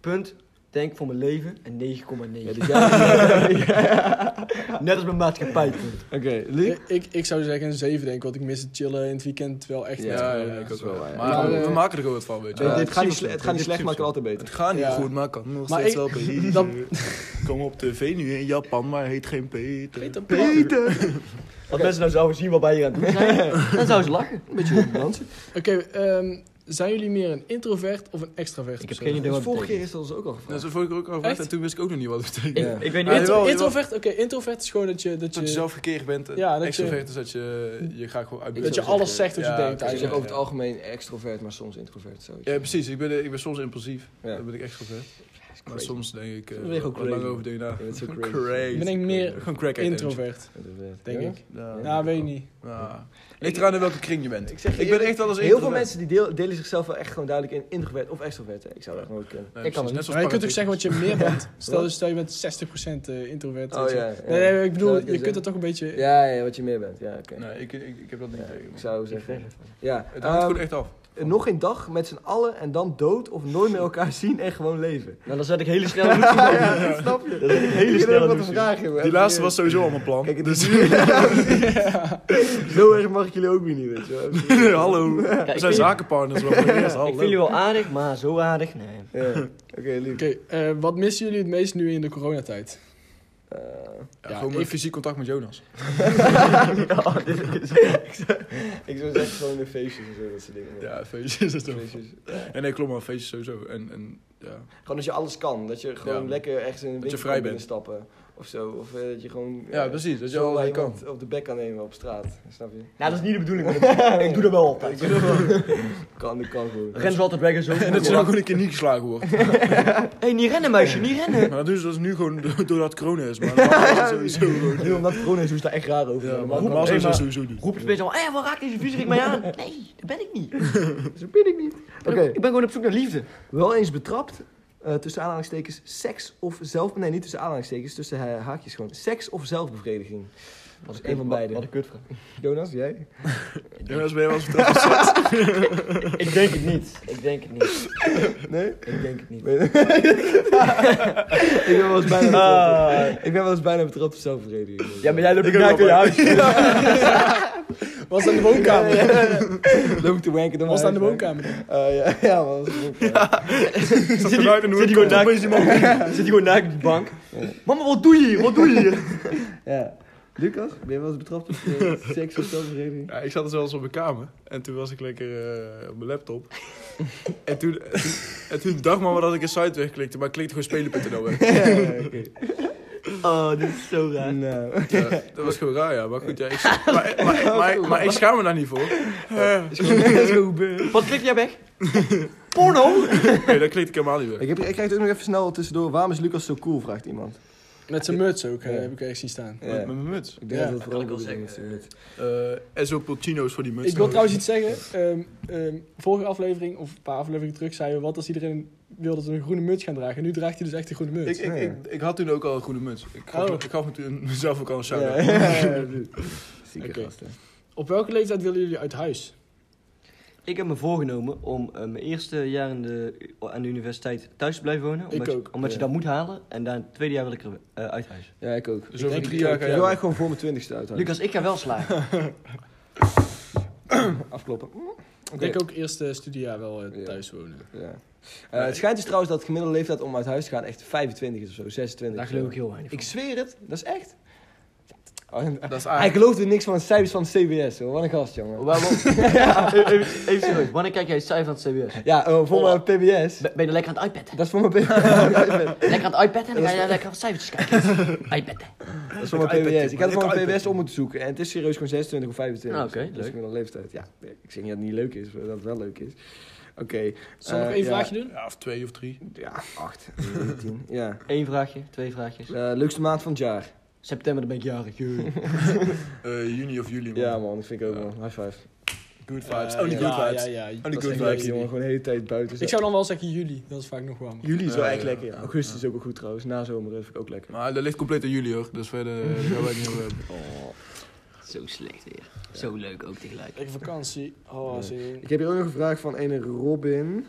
S3: punt, denk voor mijn leven, een 9,9.
S2: Ja, dit jaar-
S3: dus Net als mijn maatschappijpunt.
S2: Oké, Luc?
S5: ik, ik zou zeggen een 7 denk ik, want ik mis het chillen in het weekend wel echt.
S2: Ja,
S5: niet.
S6: ja,
S2: dat
S6: ja, ik
S2: is
S6: ook wel.
S2: wel waar.
S6: Maar
S5: Maar,
S6: we-
S5: eh,
S6: we maken er gewoon wat van, weet je.
S2: Nee,
S6: wel.
S2: dit gaat niet, sle- het gaat niet slecht, maar het kan altijd
S6: Het
S2: beter.
S6: gaat niet
S5: Ja.
S6: goed, maar het kan nog
S5: Maar
S6: steeds
S5: ik-
S6: wel beter.
S5: dan-
S6: Kom op tv nu in Japan, maar heet geen Peter.
S5: Peter Pan.
S3: Als mensen nou zouden zien wat wij hier aan het doen zijn, dan zouden ze lachen. Een beetje dansen.
S5: Oké, ehm, zijn jullie meer een introvert of een extravert?
S3: Ik heb
S5: persoon?
S3: geen idee wat
S2: Dus
S3: het
S2: vorige keer
S3: betekent.
S2: is dat ons ook al gevraagd.
S6: Dat is vorige keer ook al gevraagd
S5: Echt?
S6: en toen wist ik ook nog niet wat het betekent.
S2: Ja.
S3: Ik, ik weet niet.
S6: Ja,
S5: Intro-
S6: jawel, jawel.
S5: introvert, oké, introvert is gewoon dat je, dat
S6: Dat je
S5: je,
S6: zelf gekeerd bent. En
S5: Ja, dat je-
S6: extrovert is dat je je graag gewoon uit
S5: dat je
S2: zou
S5: alles
S2: zeggen-
S5: zegt wat je
S6: Ja,
S5: denkt
S6: ik
S2: Dus je bent
S5: eigenlijk.
S2: over het algemeen extrovert, maar soms introvert. Zoiets.
S6: Ja, precies. Ik ben, eh, ik ben soms impulsief.
S2: Ja.
S6: Dat ben ik extrovert. Maar
S2: crazy.
S6: soms denk ik... eh,
S2: Soms ben je gewoon
S6: wat langer
S2: crazy.
S6: over dingen na.
S2: Je bent zo crazy.
S6: Crazy.
S5: Ik ben denk ik meer
S6: Gewoon crack
S5: introvert,
S2: Introvert,
S5: denk
S2: ja?
S5: ik.
S6: Ja.
S5: Nou, weet ik niet.
S6: Ja. Ligt eraan in welke kring je bent. Ik,
S2: zeg je
S6: ben
S2: eerlijk,
S6: echt wel eens
S2: Heel veel mensen die deel- delen zichzelf wel echt gewoon duidelijk in introvert of extrovert. hè. Ik zou dat nooit kunnen.
S6: ik kan
S3: het
S6: net zoals
S5: Maar je kunt
S6: Paratiet.
S5: ook zeggen wat je meer bent. Stel,
S2: Wat?
S5: dus, stel je bent 60% eh, introvert.
S2: Oh,
S5: weet je.
S2: ja, ja.
S5: Nee, nee, ik
S2: Zou ik
S5: bedoel, je kunt
S2: zeggen?
S5: dat toch een beetje...
S2: Ja, ja, wat je meer bent. Ja, oké.
S6: Nee, ik, ik, ik heb dat niet
S2: Ja,
S6: tegen.
S2: Ik
S6: man.
S2: zou zeggen. Ja,
S6: Het hangt
S2: ehm,
S6: gewoon echt af.
S2: nog een dag met z'n allen en dan dood of nooit meer elkaar zien en gewoon leven.
S3: Nou, dan zet ik hele snelle nootjes op.
S2: dat snap je.
S3: Dat is een hele
S2: Ik weet ook
S3: snelle
S2: wat te
S3: douche.
S2: vragen, jongen.
S6: Die laatste was sowieso al mijn plan.
S2: Kijk, het is
S6: dus
S2: nu... Zo erg mag ik jullie ook weer niet, weet je wel.
S6: hallo, we
S3: ik
S6: zijn
S3: vind-
S6: zakenpartners. maar voor de rest,
S3: Ik
S6: hallo.
S3: vind jullie wel aardig, maar zo aardig, nee.
S2: Ja. Oké, Luc.
S5: Oké, eh, wat missen jullie het meest nu in de coronatijd?
S2: Eh,
S6: Ja,
S5: Ja,
S6: gewoon mijn
S5: ik-
S6: fysiek contact met Jonas.
S2: ja, dit is- ik zou- Ik zou zeggen gewoon de feestjes en zo, dat soort dingen.
S6: Ja, feestjes is toch.
S2: Feestjes.
S6: En nee, klopt maar, feestjes sowieso. En, en ja.
S2: Gewoon dat je alles kan. Dat je gewoon
S6: Ja.
S2: lekker echt in een
S6: je
S2: winkel
S6: vrij
S2: kan
S6: bent.
S2: binnenstappen. Of of zo. Of eh, dat je gewoon...
S6: Ja,
S2: eh,
S6: precies, dat je
S2: zomaar
S6: allerlei
S2: iemand op de bek kan nemen op straat, snap je?
S3: Nou, dat is niet de bedoeling. maar ik- ik doe dat wel altijd.
S2: Ik doe dat wel. kan, dat kan gewoon.
S3: Ren zo altijd weg en zo.
S6: En dat ze dan gewoon een keer niet geslagen wordt.
S3: Hé, niet rennen meisje, niet rennen.
S6: Maar dat doen ze dus nu gewoon do- doordat het corona is. Maar normaal is dat sowieso gewoon.
S3: Nu omdat corona is, doen ze daar echt raar over.
S6: Ja, maar
S3: Maar
S6: normaal
S3: hey,
S6: is dat
S3: maar-
S6: sowieso niet.
S3: roep je opeens al, hé, waar raakt deze viezerik mij aan? Nee, dat ben ik niet. Dat ben ik niet. Ik ben- Ik ben gewoon op zoek naar liefde.
S2: Wel eens betrapt, eh, tussen aanhalingstekens, seks of zelf... Nee, niet tussen aanhalingstekens, tussen eh, haakjes gewoon. Seks of zelfbevrediging.
S3: Dat
S2: is een van beide.
S3: Wat een kutvraag.
S2: Jonas, jij?
S6: Jonas, ben je wel eens vertrapt op seks?
S3: Ik denk het niet. Ik denk het niet.
S2: Nee?
S3: Ik denk het niet.
S2: Ik ben wel eens bijna betrapt.
S3: Ah.
S2: Ik ben wel eens bijna betrapt op zelfbevrediging.
S3: Ja, maar jij loopt
S6: Ik
S3: niet naar
S6: ook
S3: je
S6: wel
S3: huis.
S5: Was aan de woonkamer.
S2: Loop ik te wanken door
S5: Was
S2: mijn
S5: aan de
S2: huis,
S5: woonkamer. dan?
S2: hè? Eh, ja, ja, man, dat is goed. Ja.
S6: Zit hij gewoon
S3: zit die gewoon Zit hij gewoon naakt op de bank. Mama, wat doe je hier? Wat doe je hier?
S2: Ja. Lucas, ben je wel eens betrapt op eh, seks of zelfbevrediging?
S6: Ja, ik zat er zelfs op mijn kamer en toen was ik lekker eh, op mijn laptop. en, toen, en, toen, en toen dacht mama dat ik een site wegklikte, maar ik klikte gewoon spelen.nl weg.
S3: Oh, dit is zo raar.
S2: Nou,
S6: Ja, eh, dat was gewoon raar, ja. Maar goed, ja, ik, maar, maar, maar, maar- maar ik schaam me daar niet voor. Eh,
S3: Wat klik jij weg? Porno?
S6: nee, dat klikte ik helemaal niet weg.
S2: ik, heb, ik krijg het ook nog even snel tussendoor. Waarom is Lucas zo cool, vraagt iemand.
S5: Met zijn muts ook, hè,
S2: Ja.
S5: heb ik echt zien staan.
S2: Ja.
S6: Met mijn muts.
S2: Ik denk
S5: Ja,
S2: dat dat vooral
S3: dat kan ik wel
S2: bedoeling
S3: zeggen.
S2: is.
S6: Eh, en zo Pulcino's voor die muts. Eh,
S5: Ik wil trouwens iets zeggen. Ehm, ehm, vorige aflevering, of een paar afleveringen terug, zeiden we... wat als iedereen wil dat we een groene muts gaan dragen. En nu draagt hij dus echt een groene
S6: Ik,
S5: muts.
S6: ik, ik, ik had toen ook al een goede muts. Ik gaf,
S5: Oh.
S6: ik gaf me toen mezelf ook al een
S2: Ja,
S6: shout-out.
S2: ja, ja, ja. Zieke
S5: Oké.
S2: gasten.
S5: Op welke leeftijd willen jullie uit huis?
S3: Ik heb me voorgenomen om eh, mijn eerste jaar in de, aan de universiteit thuis te blijven wonen.
S5: Ik
S3: Omdat, je-
S5: ook,
S3: omdat
S2: ja.
S3: je dat moet halen. En dan het tweede jaar wil ik er eh, uit huis.
S2: Ja, ik ook.
S6: Dus over
S5: denk
S6: drie
S5: het
S6: jaar
S5: ook,
S6: ga
S2: ik
S6: jij...
S2: wil eigenlijk gewoon voor mijn twintigste uit.
S3: Lucas, ik ga wel slagen.
S2: afkloppen.
S5: Ik denk ook eerst eh, studiejaar wel eh,
S2: Ja.
S5: thuis wonen.
S2: Ja. Eh, het schijnt dus trouwens dat de gemiddelde leeftijd om uit huis te gaan echt 25 is of zo, 26.
S3: Daar
S2: of
S3: geloof
S2: zo.
S3: ik heel weinig van.
S2: Ik Oh, zweer het, dat is echt.
S6: Dat is
S2: Hij
S6: eigenlijk...
S2: geloofde niks van de cijfers van het CBS, hoor. Wat een gast, jongen.
S3: Waarom? even, even- even serieus, wanneer kijk jij het cijfer van het CBS?
S2: Ja, eh, voor mijn PBS.
S3: Ben ben je lekker aan het iPadden?
S2: Dat is voor mijn PBS.
S3: Lekker aan het iPadden en dan ga je lekker wat cijfertjes kijken. iPadden.
S2: Dat is voor mijn PBS. Ik had het voor mijn PBS om moeten zoeken. En het is serieus gewoon 26 of Dus 25.
S3: Ah, oké,
S2: Dat is
S3: leuk.
S2: gemiddelde leeftijd. Ja, ik zeg niet dat het niet leuk is, maar dat het wel leuk is. Oké.
S5: Zal ik
S2: eh,
S5: nog één
S2: ja.
S5: vraagje doen?
S6: Ja, of twee of drie.
S2: Ja, 8. 10. Ja.
S3: Eén vraagje, twee vraagjes.
S2: Eh, leukste maand van het jaar.
S3: September, dan ben ik jarig. jee.
S6: Eh, juni of juli, man.
S2: Ja, man. Dat vind ik ook, man. High five.
S6: Good vibes.
S5: Eh,
S6: Only good
S5: ja,
S6: vibes.
S5: Ja, ja,
S6: Only
S5: dat
S6: good
S5: is
S2: Lekker,
S5: echt
S6: vibes.
S5: leuk.
S2: jongen. Gewoon de hele tijd buiten.
S5: Ik
S2: zijn.
S5: zou dan wel zeggen juli. Dat is vaak nog warm.
S2: Juli is wel
S6: Ja,
S2: echt
S6: ja,
S2: lekker, ja.
S6: ja.
S2: Augustus is ook wel goed trouwens. Na zomer dat vind ik ook lekker.
S6: Maar dat ligt compleet aan jullie hoor, dus verder eh, gaan wij het niet over hebben.
S3: Zo slecht weer. Zo leuk ook tegelijk.
S5: Ik vakantie. Oh,
S2: Nee.
S5: zin.
S2: Ik heb hier ook nog een vraag van een Robin.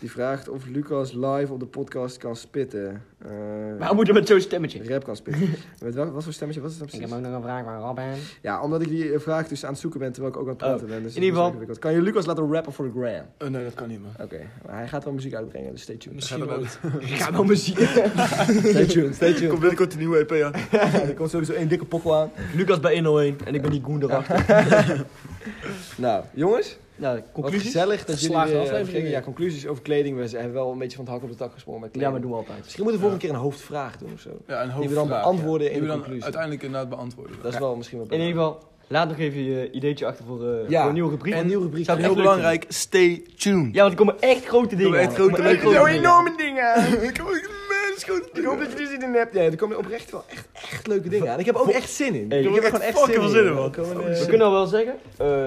S2: Die vraagt of Lucas live op de podcast kan spitten. Eh,
S3: Waarom moet je met zo'n stemmetje?
S2: rap kan spitten. Met wel, wat voor stemmetje was het dan
S8: Ik heb
S2: precies?
S8: ook nog een vraag van Robin.
S2: Ja, omdat ik die eh, vraag dus aan het zoeken ben terwijl ik ook aan het praten ben. Dus
S3: in ieder
S2: dat
S3: geval-
S2: is ingewikkeld. Kan je Lucas laten rappen voor de gram?
S6: Eh, nee, dat kan niet man.
S2: Oké, maar hij gaat wel muziek uitbrengen, dus stay tuned.
S5: Misschien
S6: Gaat
S5: ooit.
S3: Ik ga wel muziek.
S2: Stay tuned, stay
S6: Komt
S2: tuned.
S6: binnenkort een
S3: E
S6: nieuwe EP aan.
S2: er komt sowieso één dikke pokkel aan.
S3: Lucas bij 101 en ik ben die goen erachter.
S2: Nou, jongens,
S3: Nou,
S2: wat
S3: conclusies?
S2: gezellig dat jullie
S5: Geslaagde
S2: weer
S5: aflevering
S2: gingen. Ja,
S5: weer.
S2: conclusies over kleding. We hebben wel een beetje van het hak op de tak gesprongen met
S3: Ja,
S2: kleding.
S3: maar doen we altijd.
S2: Misschien moeten we volgende keer een hoofdvraag doen of zo.
S6: Ja, een hoofdvraag.
S2: Die we dan beantwoorden
S6: ja.
S2: in
S6: Die we
S2: de
S6: dan
S2: conclusie.
S6: uiteindelijk inderdaad beantwoorden.
S2: Dat is wel misschien wel
S3: In
S2: beter.
S3: ieder geval, laat nog even je ideetje achter voor, eh,
S2: Ja.
S3: voor een nieuwe rubriek.
S2: Een nieuwe rubriek.
S3: Zou ik
S6: Heel
S3: echt leuk
S6: belangrijk, stay tuned.
S3: vinden. Ja, want er komen echt grote dingen.
S6: komen echt
S3: aan.
S6: grote
S3: Er komen
S6: leuke
S3: grote dingen.
S2: dingen!
S6: Ik heb ook een mens goed.
S2: Ik hoop dat je die zin in hebt. Ja, er komen oprecht wel echt, echt leuke dingen aan. Ik heb ook echt zin in.
S3: Hey, ik
S2: ik
S3: heb
S2: heb
S6: echt fucking veel zin in, man.
S2: Er komen, eh,
S3: We kunnen al wel zeggen, eh,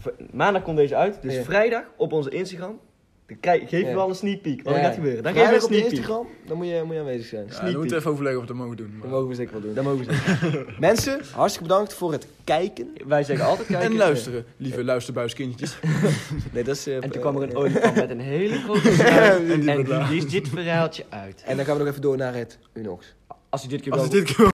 S3: v- maandag komt deze uit, dus
S2: Ja.
S3: vrijdag op onze Instagram. Dan krijg, geef
S2: Ja.
S3: je wel een sneak peek, wat
S2: Ja.
S3: er gaat gebeuren. Dan geef
S2: Vrijdag
S3: je
S2: op
S3: een
S2: de
S3: sneak peek.
S2: Instagram, dan moet je, moet je aanwezig zijn.
S6: Ja, we moeten even overleggen of we dat mogen doen. maar-
S2: Dat mogen we zeker wel doen. Dat mogen we zeker. Mensen, hartstikke bedankt voor het kijken.
S3: Wij zeggen altijd kijken.
S6: En luisteren, lieve luisterbuiskindjes.
S2: Nee, dat is, eh,
S3: En toen kwam er
S2: eh,
S3: een olifant met een hele grote snuit.
S6: En die
S3: en
S6: wordt laag.
S3: die is dit verhaaltje uit.
S2: En dan gaan we nog even door naar het Unox.
S3: Als je dit keer
S6: Als
S3: wel
S6: het dit keer